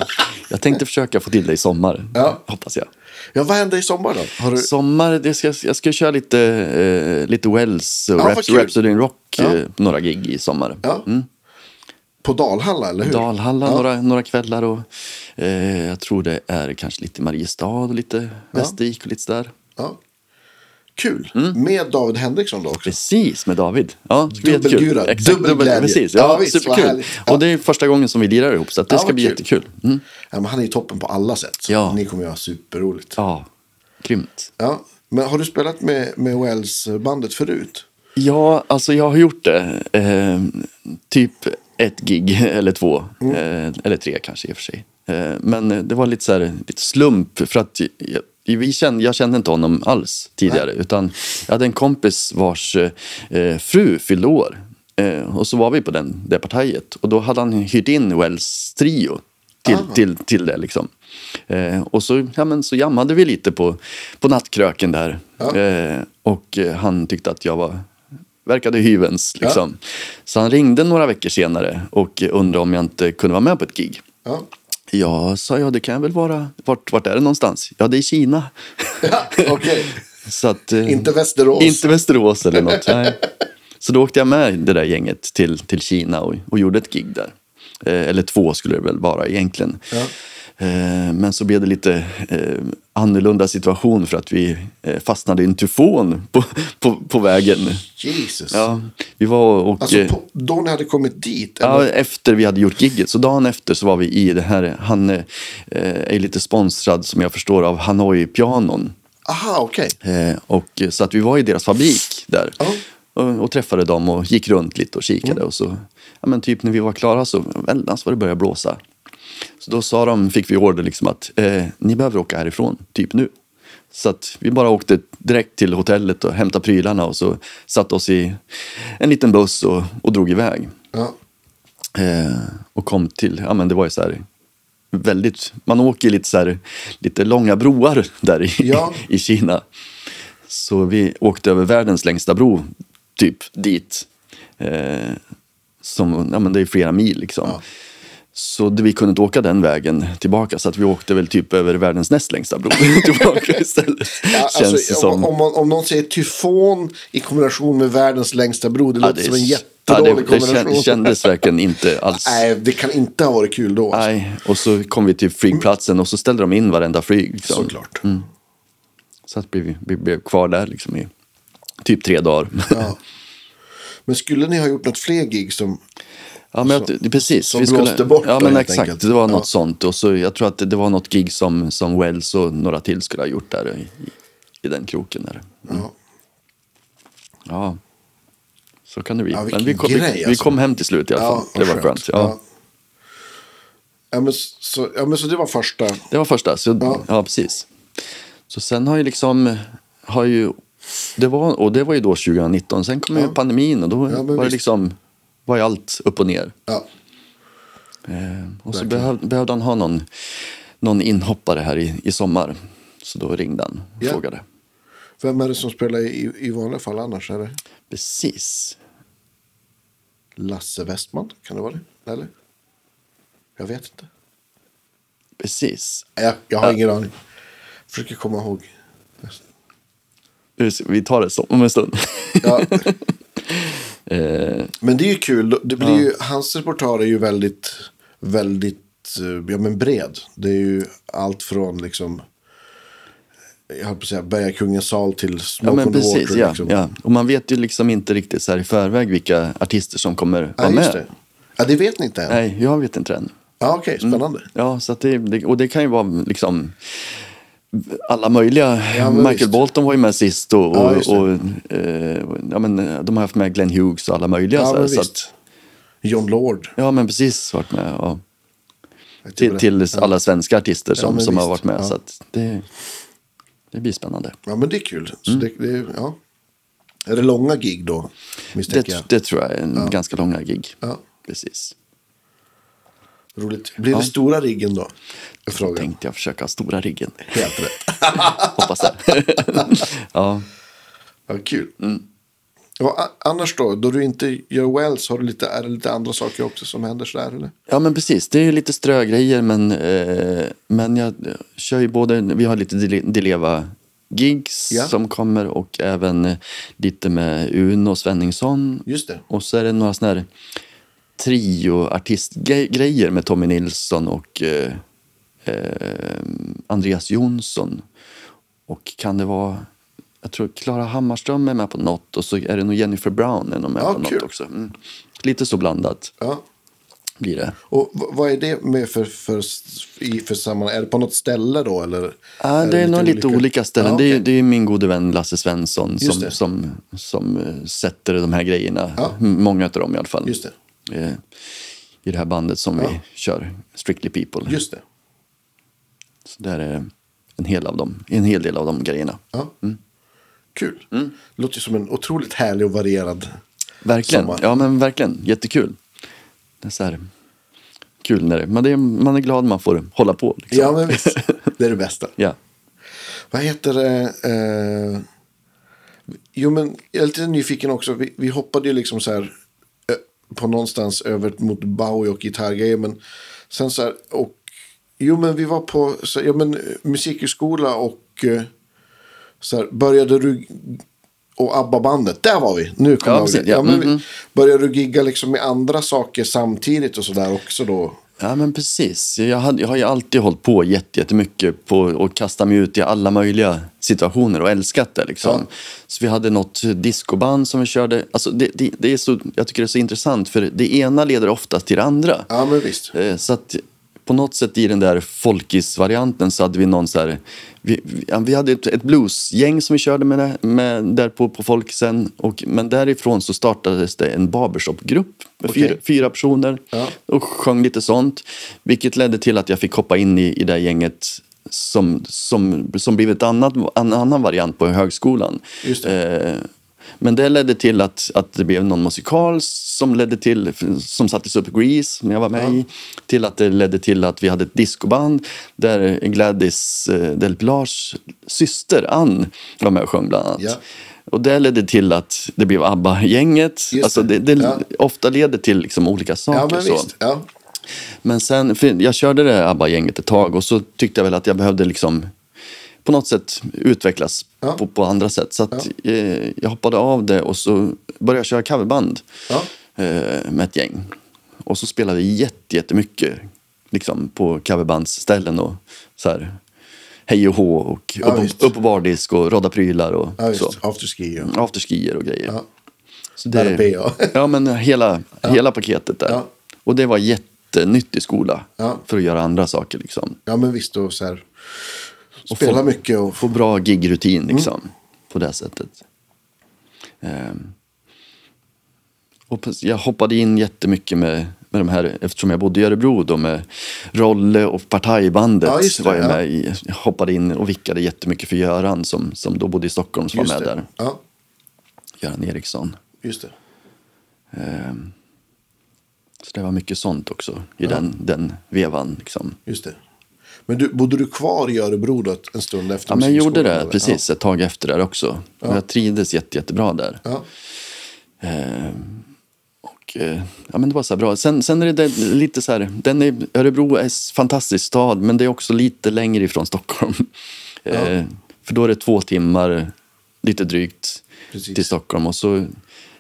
B: Jag tänkte försöka få till det i sommar,
A: Ja.
B: hoppas jag.
A: Ja, vad händer i sommar då? Har du,
B: Sommar, det ska, jag ska köra lite, eh, lite Wells och
A: Ja, vad
B: Raps,
A: kul.
B: Rhapsody in Rock,
A: Ja.
B: eh, några gig i sommar.
A: ja. På Dalhalla, eller hur?
B: Mm. Dalhalla
A: ja.
B: några, några kvällar och eh, jag tror det är kanske lite Mariestad och lite Västervik och lite sådär.
A: Ja. Kul. Med David Henriksson då också.
B: Mm. Precis, med David. Ja, det ska bli
A: Dubbelgurad,
B: jättekul. Exakt,
A: dubbelglädje.
B: Precis,
A: Ja,
B: ja,
A: visst, vad
B: superkul.
A: härligt. Ja.
B: Och det är första gången som vi lirar ihop så att det
A: Ja,
B: ska
A: vad
B: bli
A: kul.
B: jättekul. Mm.
A: Ja, men han är ju toppen på alla sätt. Så
B: Ja.
A: Ni kommer ju ha superroligt. Ja.
B: Ja, grymt.
A: Men har du spelat med, med Wells-bandet förut?
B: Ja, alltså jag har gjort det. Eh, typ ett gig eller två. Eh, eller tre kanske i och för sig. Eh, men eh, det var lite, så här, lite slump för att jag, vi kände, jag kände inte honom alls tidigare. Utan jag hade en kompis vars eh, fru fyllde år. Eh, och så var vi på den, det partiet. Och då hade han hyrt in Wells trio till, till, till det. Liksom. Eh, och så, ja, men så jammade vi lite på, på nattkröken där. Eh, och eh, han tyckte att jag var verkade hyvens. Liksom. Så han ringde några veckor senare och undrade om jag inte kunde vara med på ett gig.
A: Ja.
B: Ja, sa jag, det kan jag väl vara. Vart, vart är det någonstans? Ja, det är Kina.
A: Ja, okej.
B: Så att, eh,
A: Inte Västerås.
B: Inte Västerås eller något. Nej. Så då åkte jag med det där gänget till, till Kina och, och gjorde ett gig där. Eh, eller två skulle det väl vara egentligen. Eh, men så blev det lite eh, annorlunda situation för att vi eh, fastnade i en tyfon på, på, på vägen.
A: Jesus.
B: Ja, vi var och...
A: Alltså
B: eh,
A: på, då ni hade kommit dit? eller?
B: Ja, efter vi hade gjort gigget. Så dagen efter så var vi i det här. Han eh, är lite sponsrad som jag förstår av Hanoi Pianon.
A: Aha, okej.
B: Eh, och, så att vi var i deras fabrik där.
A: Ja.
B: Och, och träffade dem och gick runt lite och kikade. Och så, ja, men typ när vi var klara så väldans vad det började blåsa. Så då sa de, fick vi order liksom att eh, ni behöver åka härifrån, typ nu. Så att vi bara åkte direkt till hotellet och hämtade prylarna och så satte oss i en liten buss och, och drog iväg.
A: Ja.
B: Eh, och kom till, ja men det var ju så här väldigt, man åker ju lite så här, lite långa broar där i,
A: Ja.
B: i Kina. Så vi åkte över världens längsta bro, typ dit. Eh, som, ja men det är flera mil liksom.
A: Ja.
B: Så det- vi kunde inte åka den vägen tillbaka så att vi åkte väl typ över världens näst längsta bro tillbaka istället.
A: Ja,
B: Känns
A: alltså,
B: det som.
A: om, om, man, om någon säger tyfon i kombination med världens längsta bro, det
B: Ja,
A: låter
B: det-
A: som en
B: ja,
A: jättedålig
B: det, det
A: kombination.
B: kän- kändes verkligen inte alls.
A: Nej, det kan inte ha varit kul då. Alltså.
B: Nej, och så kom vi till flygplatsen och så ställde de in varenda flyg. Liksom.
A: Såklart.
B: Så att vi, vi, blev kvar där liksom i typ tre dagar. Ja,
A: Ja. Men skulle ni ha gjort något fler gig som...
B: men jag, det- precis.
A: som blåste bort
B: Ja,
A: då,
B: men
A: helt
B: exakt.
A: enkelt.
B: Det var något
A: Ja.
B: sånt. Och så, jag tror att det, det var något gig som, som Wells och några till skulle ha gjort där i, i- i den kroken. Där.
A: Ja.
B: Ja, så kan det bli.
A: Ja,
B: men
A: vilken
B: vi kom,
A: grej,
B: vi, vi
A: alltså.
B: kom hem till slut i alla fall.
A: Ja,
B: det var skönt. Ja.
A: Ja. Ja, men, så, ja, men så det var första.
B: Det var första. Så,
A: Ja.
B: ja. precis. Så sen har ju liksom... Har ju, det var, och det var ju då 2019. Sen kom ju pandemin och då
A: Ja, men
B: var det
A: visst.
B: liksom... Var ju allt upp och ner.
A: Ja.
B: Eh, och så
A: Verkligen.
B: behöv, behövde han ha någon, någon inhoppare här i, i sommar. Så då ringde han och
A: Ja.
B: frågade.
A: Vem är det som spelar i, i vanliga fall annars? Är det
B: Precis.
A: Lasse Westman? Kan det vara det? Eller? Jag vet inte.
B: Precis.
A: Jag, jag har
B: Ja.
A: ingen aning. Försöker komma ihåg.
B: Nu ska- Vi tar det så, om en stund.
A: Ja,
B: eh,
A: men det är ju kul. Det blir ju, hans reportage är ju väldigt, väldigt eh, ja, men bred. Det är ju allt från liksom, jag höll på att säga Bergakungens sal till Smoke
B: ja, men
A: on the
B: precis.
A: Water.
B: Ja,
A: liksom.
B: ja. Och man vet ju liksom inte riktigt så här i förväg vilka artister som kommer
A: Ja,
B: vara
A: just
B: med.
A: det. Ja, det vet ni inte än.
B: Nej, Mm. jag vet inte än.
A: Ja, okej, spännande.
B: Ja, så att det, det, och det kan ju vara liksom alla möjliga.
A: Ja, men
B: Michael
A: visst.
B: Bolton var ju med sist och, och,
A: Ja,
B: ja,
A: just det.
B: och eh, ja, men, de har haft med Glenn Hughes och alla möjliga.
A: Ja,
B: så, här,
A: men
B: så
A: visst.
B: att,
A: John Lord.
B: ja, men precis. Varit med, ja.
A: Jag
B: till,
A: tycker
B: till
A: det.
B: alla svenska artister som,
A: men
B: som har
A: visst.
B: varit med.
A: Ja.
B: Så att det, det blir spännande.
A: Ja, men det är kul.
B: Mm.
A: Så det, det, är- ja. Är det långa gig då? Misstänker
B: Det,
A: jag.
B: det tror jag är en ganska långa gig.
A: Ja.
B: Precis.
A: Roligt. Blir det stora riggen då? Är Frågan.
B: Tänkte jag försöka stora riggen.
A: Helt rätt.
B: Hoppas det. ja.
A: Ja, kul. Mm. Och a- annars då? Då du inte gör Wells, har du lite, är det lite andra saker också som händer sådär? Eller?
B: Ja men precis, det är ju lite strögrejer men, eh, men jag kör ju både, vi har lite Dile- Dileva-gigs
A: Ja.
B: som kommer och även eh, lite med Uno Svenningsson.
A: Just det.
B: Och så är det några sådana här trio-artistgrejer med Tommy Nilsson och eh, eh, Andreas Jonsson. Och kan det vara, jag tror Klara Hammarström är med på något och så är det nog Jennifer Brown är nog med
A: Ja,
B: på
A: kul.
B: något också. Mm. Lite så blandat
A: Ja.
B: blir det.
A: Och v- vad är det med för, för, i, för sammanhang? Är det på något ställe då? Eller
B: Ja, det är nog lite olika ställen.
A: Ja,
B: Det, är,
A: okej.
B: det är min gode vän Lasse Svensson
A: Just
B: som,
A: det.
B: som, som eh, sätter de här grejerna.
A: Ja.
B: M- Många av dem i alla fall.
A: Just det.
B: Eh, I det här bandet som
A: Ja.
B: vi kör, Strictly People.
A: Just det.
B: Så där är en hel, av dem, en hel del av de grejerna.
A: Ja.
B: Mm.
A: Kul. Låter ju som en otroligt härlig och varierad.
B: Verkligen.
A: Sommar.
B: Ja, men verkligen. Jättekul. Det är så här kul när det, men det är, man är glad man får hålla på. Liksom.
A: Ja, men visst. Det är det bästa.
B: ja.
A: Vad heter det? Eh, Jo, men jag är lite nyfiken också. Vi, vi hoppade ju liksom så här ö, på någonstans över mot Bowie och gitarrgrejer. Men sen så här, och jo, men vi var på så, ja, men, eh, musikhögskola och eh, så här, började du och ABBA-bandet, där var vi. Nu kommer
B: Ja,
A: jag
B: precis.
A: ihåg.
B: Ja,
A: men
B: mm,
A: vi Började du gigga liksom med andra saker samtidigt och sådär också då?
B: Ja, men precis. Jag, hade, jag har ju alltid hållit på jätte- jättemycket på och kastat mig ut i alla möjliga situationer och älskat det. Liksom. Så vi hade något discoband som vi körde. Alltså, det, det, det är så, jag tycker det är så intressant, för det ena leder oftast till det andra.
A: Ja, men visst.
B: Eh, Så att på något sätt i den där folkis-varianten så hade vi någon så här... Vi, vi- ja, vi hade ett, ett bluesgäng som vi körde med, det- med där på, på folkisen. Och, men därifrån så startades det en barbershopgrupp med
A: Okej.
B: fyra, fyra personer
A: Ja.
B: och sjöng lite sånt. Vilket ledde till att jag fick hoppa in i, i det gänget som, som, som blev ett annat, en annan variant på högskolan.
A: Just det.
B: Eh, Men det ledde till att, att det blev någon musikal som ledde till, som sattes upp i Grease när jag var med i. Till att det ledde till att vi hade ett discoband där Gladys eh, Del Plars syster Ann var med och sjöng bland annat.
A: Ja.
B: Och det ledde till att det blev ABBA-gänget.
A: det.
B: Alltså det, det
A: Ja.
B: ofta leder till liksom olika saker.
A: Ja, men
B: så.
A: visst. Ja.
B: Men sen, för jag körde det ABBA-gänget ett tag och så tyckte jag väl att jag behövde liksom på något sätt utvecklas
A: Ja.
B: på, på andra sätt. Så att, eh, jag hoppade av det och så började jag köra coverband
A: Ja.
B: eh, med ett gäng. Och så spelade vi jätte, jättemycket liksom, på coverbandsställen och så här hej och hå och
A: Ja,
B: upp,
A: visst.
B: upp på bardisk och rådda prylar och
A: Ja,
B: så. Mm.
A: visst. Afterski. Ja.
B: Afterskier och grejer.
A: Ja.
B: Så
A: RP, ja.
B: ja, men hela, hela paketet där.
A: Ja.
B: Och det var jättenytt i skola
A: Ja.
B: för att göra andra saker. Liksom.
A: ja, men visst. Och så här, spela
B: få-
A: mycket och
B: Få bra gigrutin
A: Mm.
B: liksom, på det sättet. Ehm. Och precis, jag hoppade in jättemycket med, med de här, eftersom jag bodde i Örebro då med Rolle och Partajbandet
A: Ja, just det,
B: var jag
A: ja.
B: med i. Jag hoppade in och vickade jättemycket för Göran som, som då bodde i Stockholm som
A: Just
B: var med
A: det.
B: där.
A: Ja,
B: Göran Eriksson.
A: just det.
B: Ehm, Så det var mycket sånt också i den, den vevan. Liksom.
A: Just det. Men du, bodde du kvar i Örebro då ett- en stund efter
B: Ja, men jag gjorde
A: musikskolan,
B: det
A: eller?
B: precis ett tag efter där också.
A: Ja.
B: Jag trivdes jätte, jättebra där.
A: Ja. Ja.
B: Ehm, Och, eh, ja, men det var så här bra. Sen, sen är det där, lite så här, den är, Örebro är en fantastisk stad men det är också lite längre ifrån Stockholm. Ehm, För då är det två timmar, lite drygt,
A: Precis.
B: till Stockholm. Och så,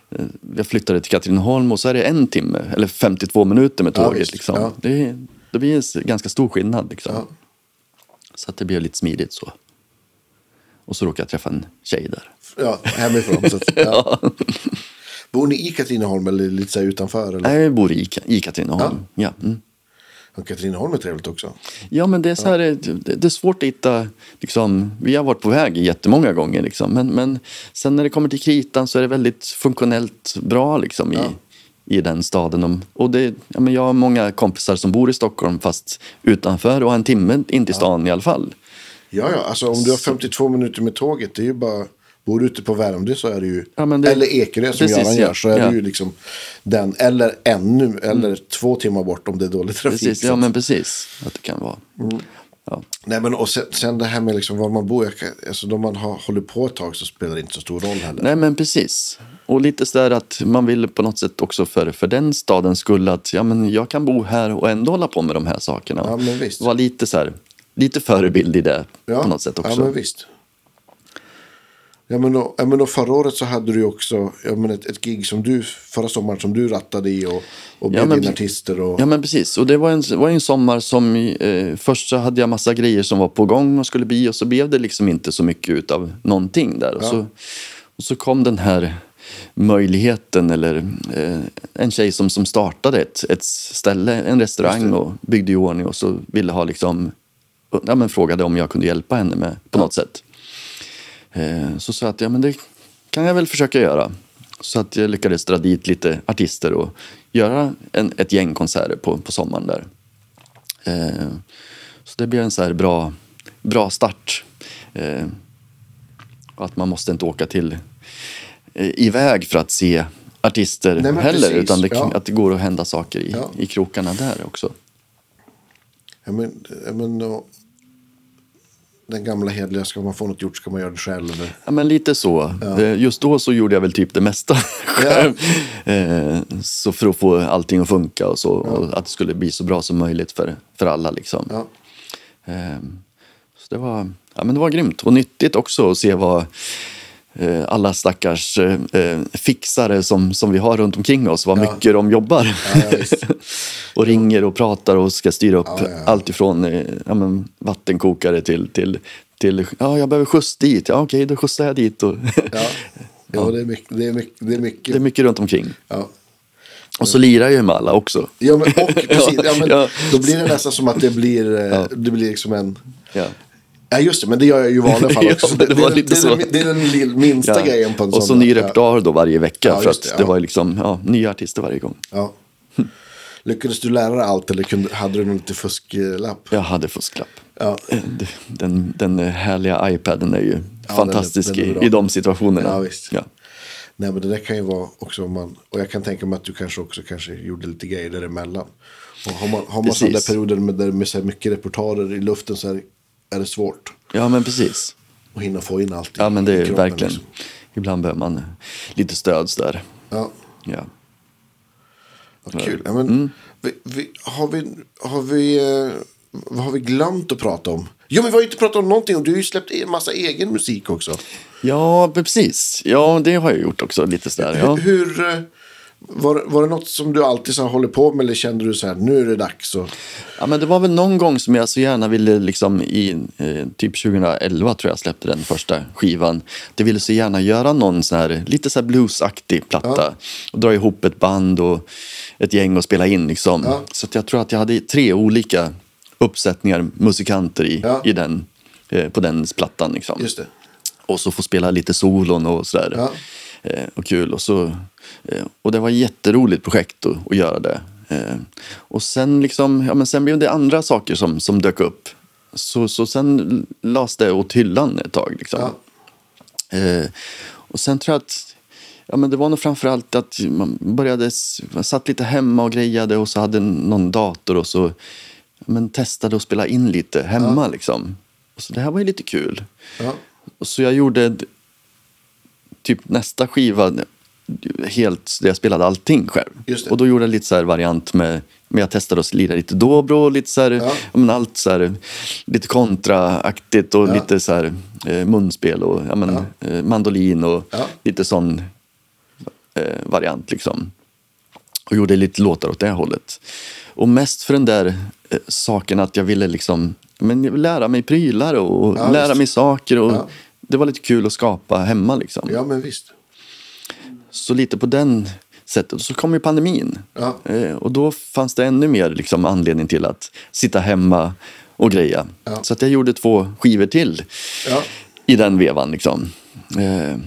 B: eh, jag flyttade till Katrineholm och så är det en timme, eller 52 minuter med
A: Ja,
B: tåget.
A: visst.
B: liksom.
A: Ja.
B: det, det blir en s- ganska stor skillnad. Liksom.
A: Ja.
B: Så att det blev lite smidigt så. Och så råkade jag träffa en tjej där.
A: Ja, hemifrån. Så att, ja. Bor ni i Katrineholm eller lite så här utanför? Eller?
B: Nej, jag bor i, Ka- i Katrineholm. Ja. Ja, mm.
A: Ja, Katrineholm är trevligt också.
B: ja, men det är, så här, eh, det, det är svårt att hitta... Liksom, vi har varit på väg jättemånga gånger. Liksom, men, men sen när det kommer till kritan så är det väldigt funktionellt bra liksom, i,
A: Ja.
B: i den staden. De- Och det, ja, men jag har många kompisar som bor i Stockholm fast utanför och har en timme in till stan i alla fall.
A: Ja, ja, alltså om du har 52 minuter med tåget, det är ju bara... Bor du ute på Värmdö så är det ju...
B: Ja, men det-
A: eller Ekerö som
B: Precis,
A: Göran
B: ja.
A: gör, så är
B: Ja. Mm.
A: det ju liksom den. Eller ännu, eller två timmar bort om det är dålig trafik.
B: Precis,
A: så
B: ja,
A: att-
B: men precis att det kan vara. Ja.
A: Nej, men och sen, sen det här med liksom var man bor, jag, kan- alltså om man har, håller på ett tag så spelar det inte så stor roll heller.
B: Nej, men precis. Och lite sådär att man vill på något sätt också för, för den stadens skull att ja, men jag kan bo här och ändå hålla på med de här sakerna.
A: Ja, men visst.
B: Vara lite så här, lite förebild i det på något sätt också.
A: Ja, men visst. Ja, men och, ja, men och förra året så hade du ju också ja, men ett, ett gig som du, förra sommaren som du rattade i och, och bjöd
B: men
A: in
B: vi-
A: artister. Och,
B: Ja, men precis. Och det var en, var en sommar som... Eh, först så hade jag massa grejer som var på gång och skulle bli och så blev det liksom inte så mycket utav någonting där. Och, så, och så kom den här möjligheten eller eh, en tjej som, som startade ett, ett ställe, en restaurang och byggde i ordning och så ville ha liksom... Ja, men frågade om jag kunde hjälpa henne med på något sätt. Eh, Så sa jag att ja, men det kan jag väl försöka göra. Så att jag lyckades dra dit lite artister och göra en, ett gäng konserter på, på sommaren där. Eh, Så det blev en så här bra, bra start. Eh, och Att man måste inte åka till eh, iväg för att se artister
A: men
B: heller.
A: precis,
B: utan det,
A: ja.
B: att det går att hända saker i,
A: Ja.
B: i krokarna där också.
A: Ja, men, ja, men, och, den gamla hedliga, ska man få något gjort ska man göra det själv. Eller?
B: Ja, men lite så. Eh, Just då så gjorde jag väl typ det mesta själv. Eh, Så för att få allting att funka och så. Och att det skulle bli så bra som möjligt för, för alla. Liksom.
A: Ja.
B: Eh, Så det var, ja, men det var grymt och nyttigt också att se vad eh, alla stackars eh, eh, fixare som, som vi har runt omkring oss, vad mycket de jobbar.
A: ja, visst.
B: och ringer och pratar och ska styra upp
A: Ja, ja, ja.
B: allt ifrån eh, ja, men, vattenkokare till, till, till ja, jag behöver skjuts dit. Ja, okej, då skjutsar jag dit. Och
A: Ja. Ja, det är mycket. Det är mycket, det är mycket.
B: det är mycket runt omkring.
A: Ja.
B: Och
A: Mm.
B: så lirar jag ju med alla också.
A: Ja, men, och, precis, ja, men,
B: Ja.
A: Då blir det nästan som att det blir, eh, det blir liksom en...
B: Ja.
A: Ja, just det, men det gör jag ju i vanliga fall
B: Ja,
A: också.
B: men det var
A: är,
B: lite
A: det, är den-
B: så.
A: det är den lill- minsta
B: Ja.
A: grejen på en
B: och så
A: sån.
B: ny
A: ja.
B: repertoar då varje vecka
A: Ja,
B: för
A: just
B: att
A: det,
B: det,
A: ja.
B: var ju liksom ja, nya artister varje gång.
A: Ja. Lyckades du lära dig allt eller kunde, hade du någon lite fusklapp?
B: Jag hade fusklapp.
A: Ja.
B: Den, den härliga iPaden är ju
A: är-
B: fantastisk
A: den är bra.
B: i, i de situationerna.
A: Ja, visst.
B: Ja.
A: Nej, men det där kan ju vara också om man... Och jag kan tänka mig att du kanske också kanske gjorde lite grejer däremellan. Och har man, har man
B: Precis.
A: sådana där perioder med, där med så här mycket reportager i luften så här, är det svårt
B: ja, men precis.
A: att hinna få in allt i-
B: Ja, men det
A: i
B: är
A: kroppen,
B: verkligen.
A: liksom.
B: Ibland behöver man lite stöd så där.
A: Ja.
B: Ja.
A: Vad kul. Ja, men,
B: Mm.
A: vi, vi, har vi, har vi, eh, vad har vi glömt att prata om? Jo, men vi har ju inte pratat om någonting. och Du har ju släppt en massa egen musik också.
B: ja, men precis. Ja, det har jag gjort också lite så där. Ja.
A: Hur, eh, var, var det något som du alltid så här, håller på med eller kände du så här, nu är det dags? Och,
B: Ja, men det var väl någon gång som jag så gärna ville, liksom i, eh, typ 2011 tror jag släppte den första skivan. Det ville så gärna göra någon sån här, lite så här bluesaktig platta. Och dra ihop ett band och ett gäng och spela in. Liksom.
A: Ja.
B: Så att jag tror att jag hade tre olika uppsättningar musikanter i,
A: Ja.
B: i den, eh, på den plattan. Liksom.
A: just det.
B: Och så få spela lite solon och sådär.
A: Ja.
B: Eh, och kul. Och, så, eh, och det var ett jätteroligt projekt att, att göra det. Eh, och sen, liksom, ja, men sen blev det andra saker som, som dök upp. Så, så sen lades det åt hyllan ett tag. Liksom.
A: Ja.
B: Eh, och sen tror jag att ja, men det var nog framför allt att man började, s- man satt lite hemma och grejade och så hade någon dator och så ja, men testade att spela in lite hemma. Liksom. Och så det här var ju lite kul.
A: Ja.
B: Och Så jag gjorde d- typ nästa skiva helt där jag spelade allting själv.
A: Just det.
B: Och då gjorde jag lite så här variant med, med jag testade att lira lite dobro, lite så här, ja. men allt så här, lite kontraaktigt och lite så här, eh, munspel och ja, men, eh, mandolin och
A: Ja.
B: lite sån eh, variant liksom. Och gjorde lite låtar åt det hållet. Och mest för den där eh, saken att jag ville liksom, men jag vill lära mig prylar och och
A: Ja,
B: lära
A: visst.
B: mig saker. Och
A: Ja.
B: Det var lite kul att skapa hemma. Liksom.
A: ja, men visst.
B: Så lite på den sättet. Och så kom ju pandemin.
A: Ja.
B: Eh, Och då fanns det ännu mer liksom, anledning till att sitta hemma och greja.
A: Ja.
B: Så att jag gjorde två skivor till
A: Ja.
B: i den vevan. Liksom. Eh,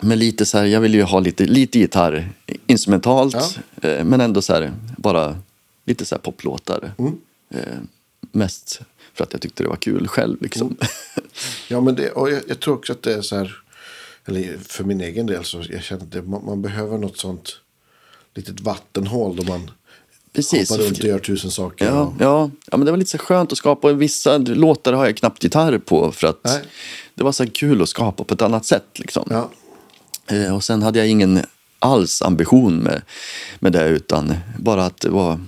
B: Men lite så här, jag ville ju ha lite, lite gitarr instrumentalt. eh, Men ändå så här, bara lite så här poplåtar.
A: Mm.
B: Eh, Mest för att jag tyckte det var kul själv. Liksom.
A: Mm. Ja, men det, och jag, jag tror också att det är så här, eller för min egen del så jag känner att det, man, man behöver något sånt litet vattenhål då man
B: Precis.
A: hoppar runt och gör tusen saker.
B: Ja,
A: och,
B: ja. ja, men det var lite så skönt att skapa. Vissa låtar har jag knappt gitarr på för att
A: Nej.
B: det var så här kul att skapa på ett annat sätt. Liksom.
A: ja,
B: Eh, Och sen hade jag ingen alls ambition med, med det utan bara att det var,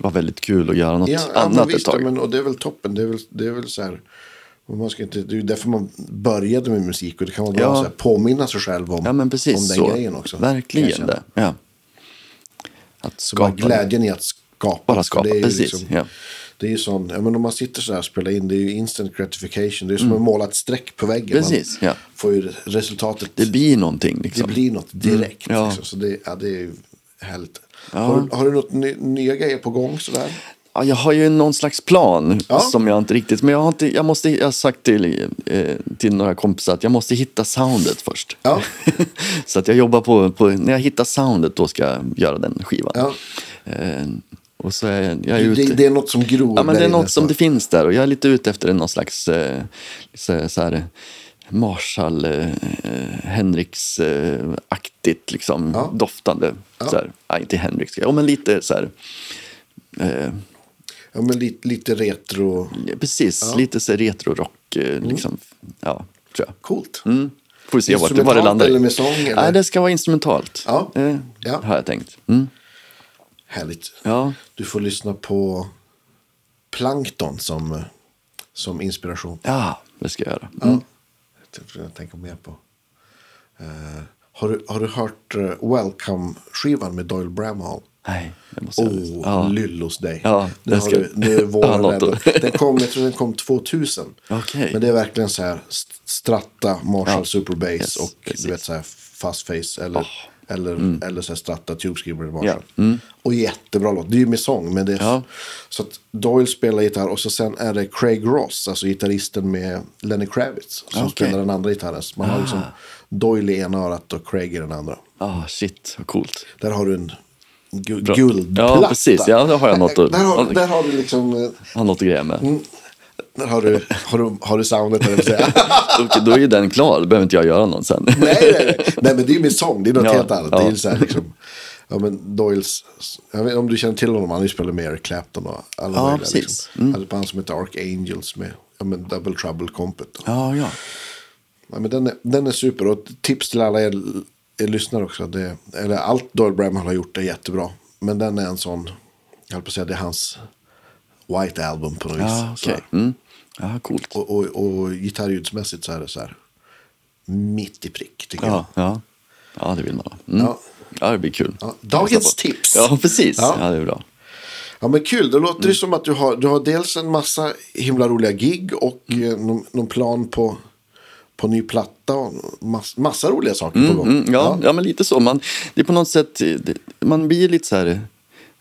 B: var väldigt kul att göra något
A: ja, ja, men
B: annat ett
A: visst, ja,
B: tag.
A: men, och det är väl toppen. Det är väl, det är väl så här, och man ska inte, det är ju därför man började med musik och det kan vara bra
B: Ja.
A: att så här, påminna sig själv om,
B: Ja, men precis
A: om den
B: så.
A: grejen också. kan jag
B: Verkligen
A: känna.
B: det. Ja. Att
A: Så bara
B: skapa.
A: glädjen i att skapa.
B: Bara skapa,
A: Det är ju liksom-
B: precis, ja.
A: Det är ju sån, ja, men om man sitter så här och spelar in, det är ju instant gratification. Det är ju som att måla ett streck på väggen.
B: Mm. Precis,
A: man
B: ja.
A: får ju resultatet,
B: Det
A: det,
B: blir någonting. Liksom.
A: blir något direkt.
B: Mm, ja.
A: Liksom. Så det, ja, det är ju härligt. Har, du- har du något ny, nya grejer på gång sådär?
B: Ja, jag har ju någon slags plan
A: Ja.
B: som jag inte riktigt... Men jag har, inte, jag måste, jag har sagt till, eh, till några kompisar att jag måste hitta soundet först.
A: Ja.
B: så att jag jobbar på, på... När jag hittar soundet då ska jag göra den skivan.
A: Ja.
B: Eh, och så är jag, jag är ute...
A: Det, det är något som gror
B: ja, men
A: där
B: det är
A: inne,
B: något som
A: så.
B: det finns där och jag är lite ute efter någon slags eh, så, så här, eh, Marshall eh, Henriks-aktigt liksom,
A: Ja.
B: doftande. Så här, nej, inte Henriks, ja, men lite så här... Eh,
A: Ja, men lite, lite retro.
B: Precis, lite så retro-rock och eh,
A: Mm.
B: liksom, ja, tror jag.
A: Coolt.
B: Får vi se vart det, var
A: Instrumentalt
B: det landar. i.
A: eller med sång, eller?
B: Nej, det ska vara instrumentalt.
A: Ja.
B: Eh,
A: Ja.
B: Har jag tänkt. Mm.
A: Härligt.
B: Ja.
A: Du får lyssna på Plankton som, som inspiration.
B: ja, det ska jag göra. Mm.
A: Ja. Jag tror jag tänker mer på. Eh, har, du, har du hört eh, Welcome-skivan med Doyle Bramhall?
B: Nej, det måste jag
A: Åh,
B: ja.
A: lyllos Oh, dig.
B: Ja,
A: nu,
B: det
A: har
B: ska-
A: du, nu är
B: Ja,
A: våren
B: låt
A: räddad.
B: då.
A: Den kom, jag tror den kom 2000.
B: Okej.
A: Men det är verkligen så här st- Stratta, Marshall
B: Ja,
A: Super Bass
B: yes,
A: och
B: precis. Ah. Mm.
A: du vet så här Fast Face eller, eller, eller så här Stratta, Tubeskriver eller Marshall.
B: Ja, Mm.
A: Och jättebra låt. Det är ju med sång. Men det är,
B: Ja.
A: Så att Doyle spelar gitarr och så sen är det Craig Ross, alltså gitarristen med Lenny Kravitz. Som
B: Ah, Okej.
A: spelar den andra gitarren. Så Man har liksom Doyle i ena örat och Craig i den andra.
B: Ah, shit, vad coolt.
A: Där har du en gu- guldplatta.
B: Ja, precis. Ja, där har jag något att-
A: Där har, där har du liksom... eh,
B: Har något att greja med.
A: Mm. Där har du, har du, har du soundet, höll jag på att säga.
B: Då, då är ju den klar, då behöver inte jag göra någon sen.
A: nej, nej, nej. nej, men det är ju min sång. Det är något
B: Ja,
A: helt annat. Det är
B: ja.
A: ju så här liksom... Ja, men Doyles... Jag vet inte om du känner till honom. Han har ju spelat med Eric Clapton och alla
B: Ja,
A: möjliga.
B: precis. Mm.
A: Liksom. Hade ett band som heter Archangels med ja, men Double Trouble Compet.
B: Ja, ja.
A: Ja, men den, är, den är super. Och ett tips till alla er, er lyssnare också. Det, eller allt Doyle Bramhall har gjort är jättebra. Men den är en sån, jag höll på att säga, det är hans White Album på något vis.
B: Ja, okej.
A: sådär.
B: Mm. Ja, coolt.
A: Och, och, och gitarrljudsmässigt så är det så här mitt i prick tycker jag.
B: Ja, ja. ja det vill man ha. Mm.
A: Ja.
B: Ja. det blir kul.
A: Ja, dagens
B: Passa på.
A: tips.
B: Ja, precis.
A: Ja.
B: Ja, det är bra.
A: Ja men kul, då låter
B: Mm.
A: det som att du har, du har dels en massa himla roliga gig och
B: Mm.
A: eh, någon, någon plan på, på ny platta och mass, massa roliga saker på gång.
B: Mm, ja, ja. men lite så. Man, det är på något sätt, det, man blir lite så här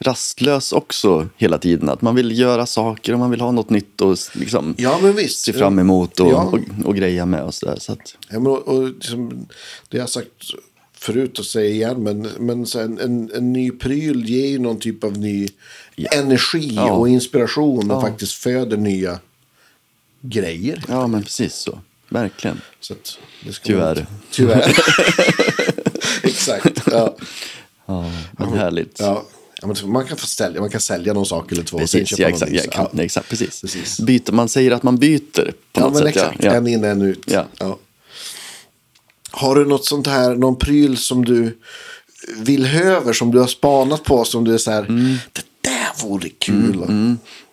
B: rastlös också hela tiden. Att man vill göra saker och man vill ha något nytt och s- liksom
A: Ja, men visst.
B: se fram emot och,
A: Ja.
B: och, och greja med och sådär. Så att,
A: Ja, men, och, och, liksom, det har jag sagt förut och säger igen, men, men så en, en, en ny pryl ger ju någon typ av ny energi
B: Ja.
A: och inspiration och
B: Ja.
A: faktiskt föder nya grejer.
B: ja, men precis så. Verkligen.
A: Så att det ska
B: Tyvärr.
A: man- Tyvärr. Exakt. Ja.
B: Ja, men härligt.
A: Ja. Ja, men man, kan få sälja, man kan sälja någon sak eller två. och sen
B: Precis,
A: köpa
B: ja, exakt,
A: någonting.
B: ja,
A: Ja.
B: exakt, nej, exakt, precis.
A: Precis.
B: Byter, man säger att man byter
A: Ja,
B: på något
A: men
B: sätt.
A: exakt.
B: Ja,
A: En in, en ut.
B: Ja.
A: Har du något sånt här, någon pryl som du vill höver, som du har spanat på, som du är så här,
B: Mm.
A: det där vore kul.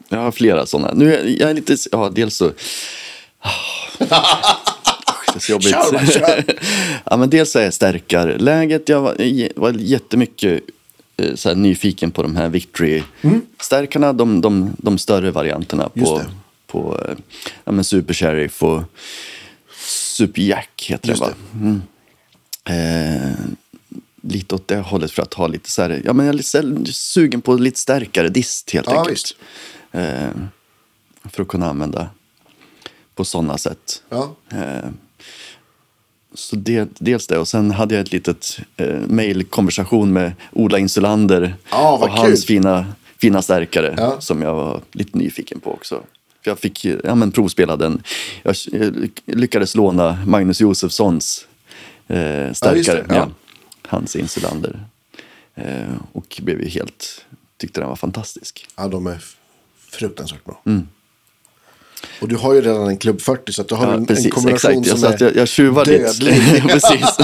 B: Jag har flera sådana. Nu är jag är lite, ja dels så... Ah. Det är så jobbigt.
A: Kör, va, kör.
B: ja, men dels så är stärkarläget. Jag var, var jättemycket eh, så här, nyfiken på de här Victory-stärkarna. De, de, de större varianterna på,
A: Mm. Just det.
B: på eh, ja, men Super Sheriff och Super Jack heter
A: Just
B: det, va? Mm. Eh, lite åt det hållet för att ha lite så här, ja men jag är lite så här sugen på lite starkare dist helt
A: Ja,
B: enkelt.
A: visst.
B: Eh, för att kunna använda på sådana sätt.
A: Ja.
B: Eh, så det, dels det och sen hade jag ett litet eh, mejlkonversation med Ola Insulander
A: Ja, Ah, vad
B: och hans
A: kul.
B: fina, fina stärkare
A: Ja.
B: som jag var lite nyfiken på också. För jag fick eh, ja, men, provspela den. Jag eh, lyck- lyckades låna Magnus Josefssons eh, stärkare.
A: det, ja.
B: Hans Insulander. Eh, och blev ju helt, tyckte den var fantastisk.
A: ja, de är fruktansvärt bra.
B: Mm.
A: Och du har ju redan en klubb 40, så att du har en, en kombination
B: exakt. Jag,
A: som
B: sa att jag, jag tjuvar
A: dödlig.
B: lite. ja, precis.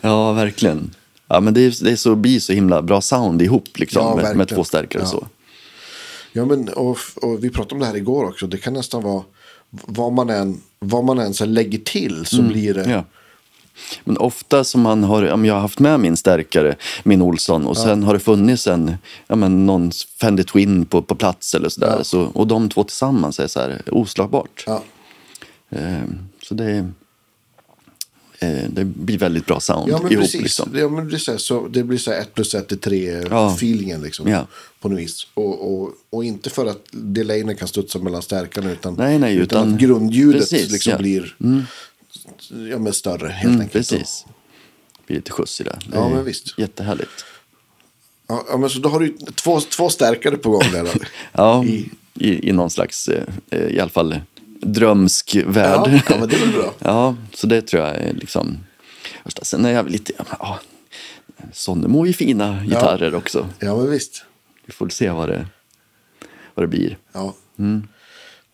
B: ja, verkligen. Ja, men det, är, det är så, blir så himla bra sound ihop liksom,
A: Ja,
B: med,
A: verkligen.
B: med två stärkare och
A: Ja.
B: så.
A: Ja, men, och, och vi pratade om det här igår också. Det kan nästan vara vad man än, vad man än så här lägger till så blir det.
B: Mm. Ja. Men ofta som man har, om jag har haft med min stärkare, min Olsson, och sen har det funnits en, ja, men någon Fender Twin på, på plats eller sådär. Så, och de två tillsammans är så här oslagbart.
A: Ja.
B: Eh, så det, är- eh, det blir väldigt bra sound
A: Ja men
B: ihop.
A: precis.
B: Liksom.
A: Ja, men det, är så här, så det blir så här ett plus ett är tre
B: Ja.
A: feelingen liksom.
B: Ja.
A: På något vis. Och, och, och inte för att delayen kan studsa mellan stärkarna utan,
B: Nej, nej, utan-
A: att grundljudet
B: Precis,
A: liksom
B: ja.
A: blir ja, men större helt
B: Mm,
A: enkelt.
B: precis. Det blir lite skjuts i det. det
A: Ja,
B: är
A: men visst.
B: Jättehärligt.
A: Ja, ja, men så då har du ju två, två stärkare på gång där. då.
B: Ja,
A: I-
B: i, i, någon slags, eh, eh, i alla fall, drömsk
A: ja,
B: värld.
A: ja, men det är väl bra.
B: Ja, så det tror jag är liksom... första. Sen är jag väl lite... Ja, men, ja, Sonnemo är ju fina gitarrer också.
A: Ja, men visst.
B: Vi får väl se vad det, vad det blir.
A: Ja.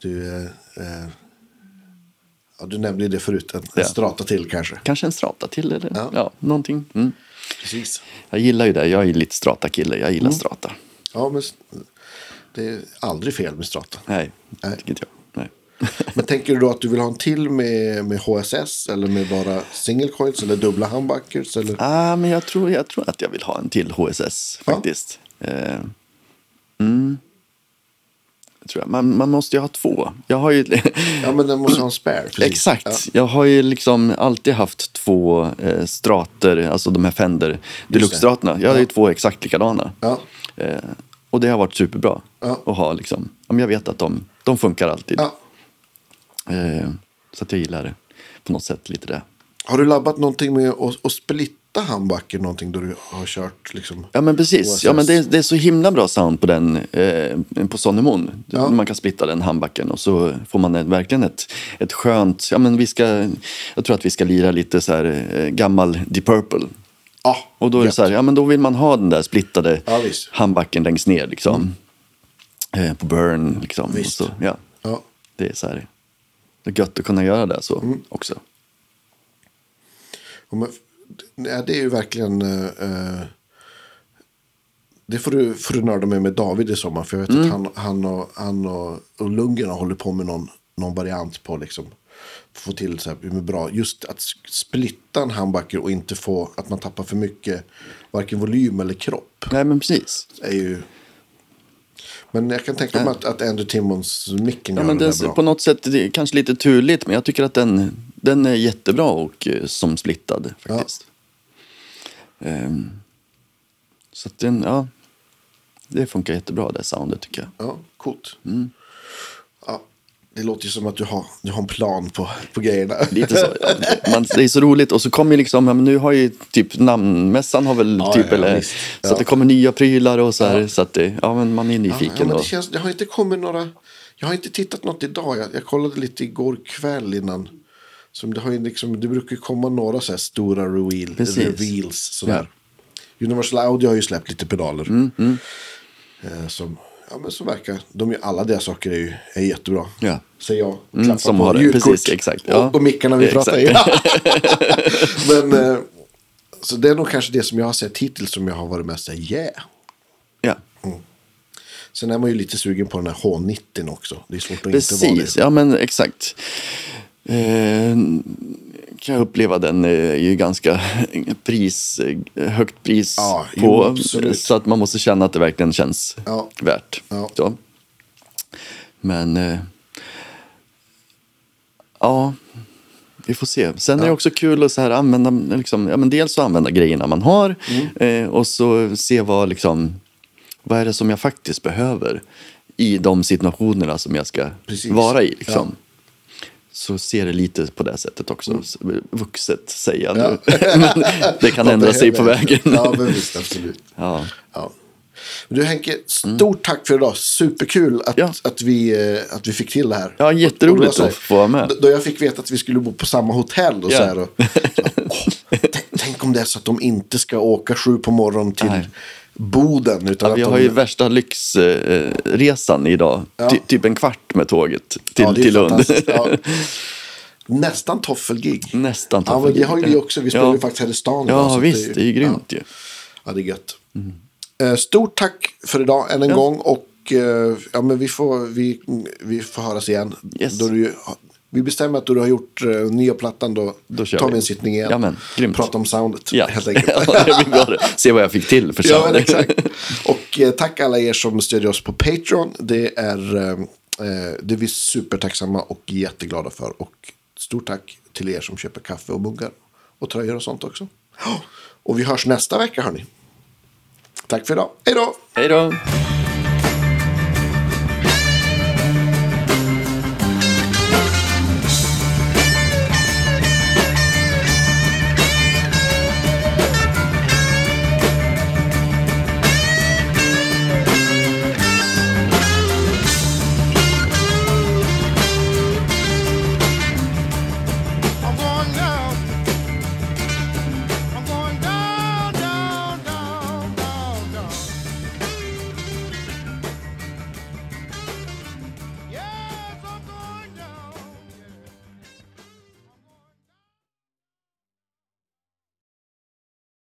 A: Du, eh, eh, Ja, du nämnde ju det förut, en, en
B: Ja.
A: strata till kanske.
B: Kanske en strata till eller
A: Ja.
B: ja. någonting. Mm.
A: Precis.
B: Jag gillar ju det. Jag är lite strata-kille. Jag
A: Mm.
B: gillar strata.
A: Ja, men s- det är aldrig fel med strata.
B: Nej,
A: Nej.
B: Nej. tycker inte jag. Nej.
A: Men tänker du då att du vill ha en till med, med HSS eller med bara single coils eller dubbla humbuckers? Eller?
B: Ah, men jag tror, jag tror att jag vill ha en till HSS
A: Ja.
B: faktiskt. Eh, mm. Jag tror jag. Man, man måste ju ha två. Jag har ju...
A: Ja, men den måste ha en spare. Precis.
B: Exakt.
A: Ja.
B: Jag har ju liksom alltid haft två eh, strater, alltså de här Fender Deluxe-straterna. Jag har ju två exakt likadana.
A: Ja.
B: Eh, och det har varit superbra
A: Ja.
B: att ha. Liksom. Ja, men jag vet att de, de funkar alltid.
A: Ja.
B: Eh, så att jag gillar det på något sätt lite det.
A: Har du labbat någonting med att, att splitta humbucker någonting då du har kört liksom?
B: Ja men
A: OSS.
B: precis. Ja, men det, är, det är så himla bra sound på den eh, på Sonny Moon.
A: Ja.
B: Man kan splitta den handbacken och så får man ett, verkligen ett, ett skönt... Ja, men vi ska, jag tror att vi ska lira lite så här, eh, gammal Deep Purple.
A: Ja.
B: Och då är det så här, ja, men då vill man ha den där splittade
A: Ja, visst. Mm.
B: handbacken längst ner liksom. Eh, på burn liksom.
A: Visst.
B: Och så, ja,
A: Ja.
B: det är så här. Det är gött att kunna göra det så
A: Mm.
B: också.
A: Ja, men, nej, det är ju verkligen... eh, eh, det får du, får du nörda med med David i sommar. För jag vet
B: Mm.
A: att han, han, och, han och, och Lundgren håller på med någon, någon variant på liksom få till så här, med bra. Just att s- splitta en handbacker och inte få att man tappar för mycket varken volym eller kropp.
B: Nej men precis.
A: Är ju... Men jag kan tänka mig att, att Andrew Timmons micken
B: Äh. Ja,
A: gör
B: men
A: det
B: den,
A: där bra.
B: på något sätt, det är kanske lite turligt, men jag tycker att den, den är jättebra och eh, som splittad faktiskt. Ehm, så att den, ja. Det funkar jättebra det soundet tycker jag.
A: Ja, coolt. Mm. Ja, det låter ju som att du har, du har en plan på, på grejerna.
B: Lite så, ja. Man, det är så roligt och så kommer ju liksom, ja, men nu har ju typ namnmässan har väl
A: Ja,
B: typ,
A: ja, ja,
B: eller,
A: visst.
B: så
A: Ja.
B: att det kommer nya prylar och så här, så att det, ja men man är
A: Ja,
B: nyfiken.
A: men det,
B: och,
A: känns, det har inte kommit några... Jag har inte tittat något idag. Jag, jag kollade lite igår kväll innan. Som det, har ju liksom, det brukar ju komma några så här stora reveal,
B: Precis.
A: reveals. Sådär. Universal Audio har ju släppt lite pedaler.
B: Mm,
A: Eh, som, ja, men som verkar... De, är- alla deras saker är ju är jättebra.
B: Ja.
A: Säger jag.
B: Mm,
A: Klappar
B: som
A: på
B: har det.
A: ljudkort
B: Precis, exakt. Ja.
A: Och, och mickarna vi
B: Exakt.
A: pratar i. men, eh, så det är nog kanske det som jag har sett hittills som jag har varit mest så här, yeah.
B: ja.
A: Sen är man ju lite sugen på den här H90 också. Det är svårt att inte vara
B: Precis,
A: det.
B: ja men exakt. Eh, kan jag uppleva den eh, är ju ganska pris, eh, högt pris
A: Ja,
B: på.
A: jo, absolut.
B: Så att man måste känna att det verkligen känns
A: Ja.
B: värt.
A: Ja.
B: Så. Men eh, ja, vi får se. Sen är det också kul att så här använda, liksom, ja, men dels att använda grejerna man har
A: Mm.
B: eh, och så se vad, liksom, vad är det som jag faktiskt behöver i de situationerna som jag ska
A: Precis.
B: vara i. Liksom. Så ser det lite på det sättet också.
A: Mm.
B: Vuxet säger jag nu. Men det kan ändra sig på vägen.
A: Ja, men visst, absolut.
B: Ja.
A: Ja. Men Du Henke, stort tack för idag. Superkul att,
B: Ja.
A: att, vi, eh, att vi fick till det här.
B: Ja, jätteroligt
A: Och då så här-
B: att få vara med.
A: Då jag fick veta att vi skulle bo på samma hotell och
B: Ja.
A: så här. Och, så, åh, t- tänk om det är så att de inte ska åka sju på morgonen till
B: Nej.
A: Boden. Utan
B: Ja, vi
A: att
B: har
A: de,
B: ju värsta lyxresan idag.
A: Ja.
B: Ty, typ en kvart med tåget till,
A: Ja, det är
B: till Lund.
A: fantastiskt. Ja. Nästan toffelgig.
B: Nästan
A: Ja, men det har ju vi också. Vi spelar ju
B: Ja.
A: faktiskt här i stan. idag, så
B: Ja,
A: att
B: visst. Det är ju grymt ju.
A: Ja, det är gött. Eh, Stort tack för idag än en gång. Och eh, ja, men vi, får, vi, vi får höras igen.
B: Yes.
A: Då du, vi bestämmer att då du har gjort eh, nya plattan då,
B: Då kör
A: tar vi
B: vi.
A: en sittning igen.
B: Jamen, grymt.
A: Prata om soundet
B: Ja,
A: helt enkelt.
B: Ja, det blir bra. Se vad jag fick till
A: ja,
B: för sound.
A: men exakt. Och eh, tack alla er som stödjer oss på Patreon. Det är, eh, eh, det är vi supertacksamma och jätteglada för. Och stort tack till er som köper kaffe och muggar och tröjor och sånt också. Och vi hörs nästa vecka hörni. Tack för idag. Hej då!
B: Hej då!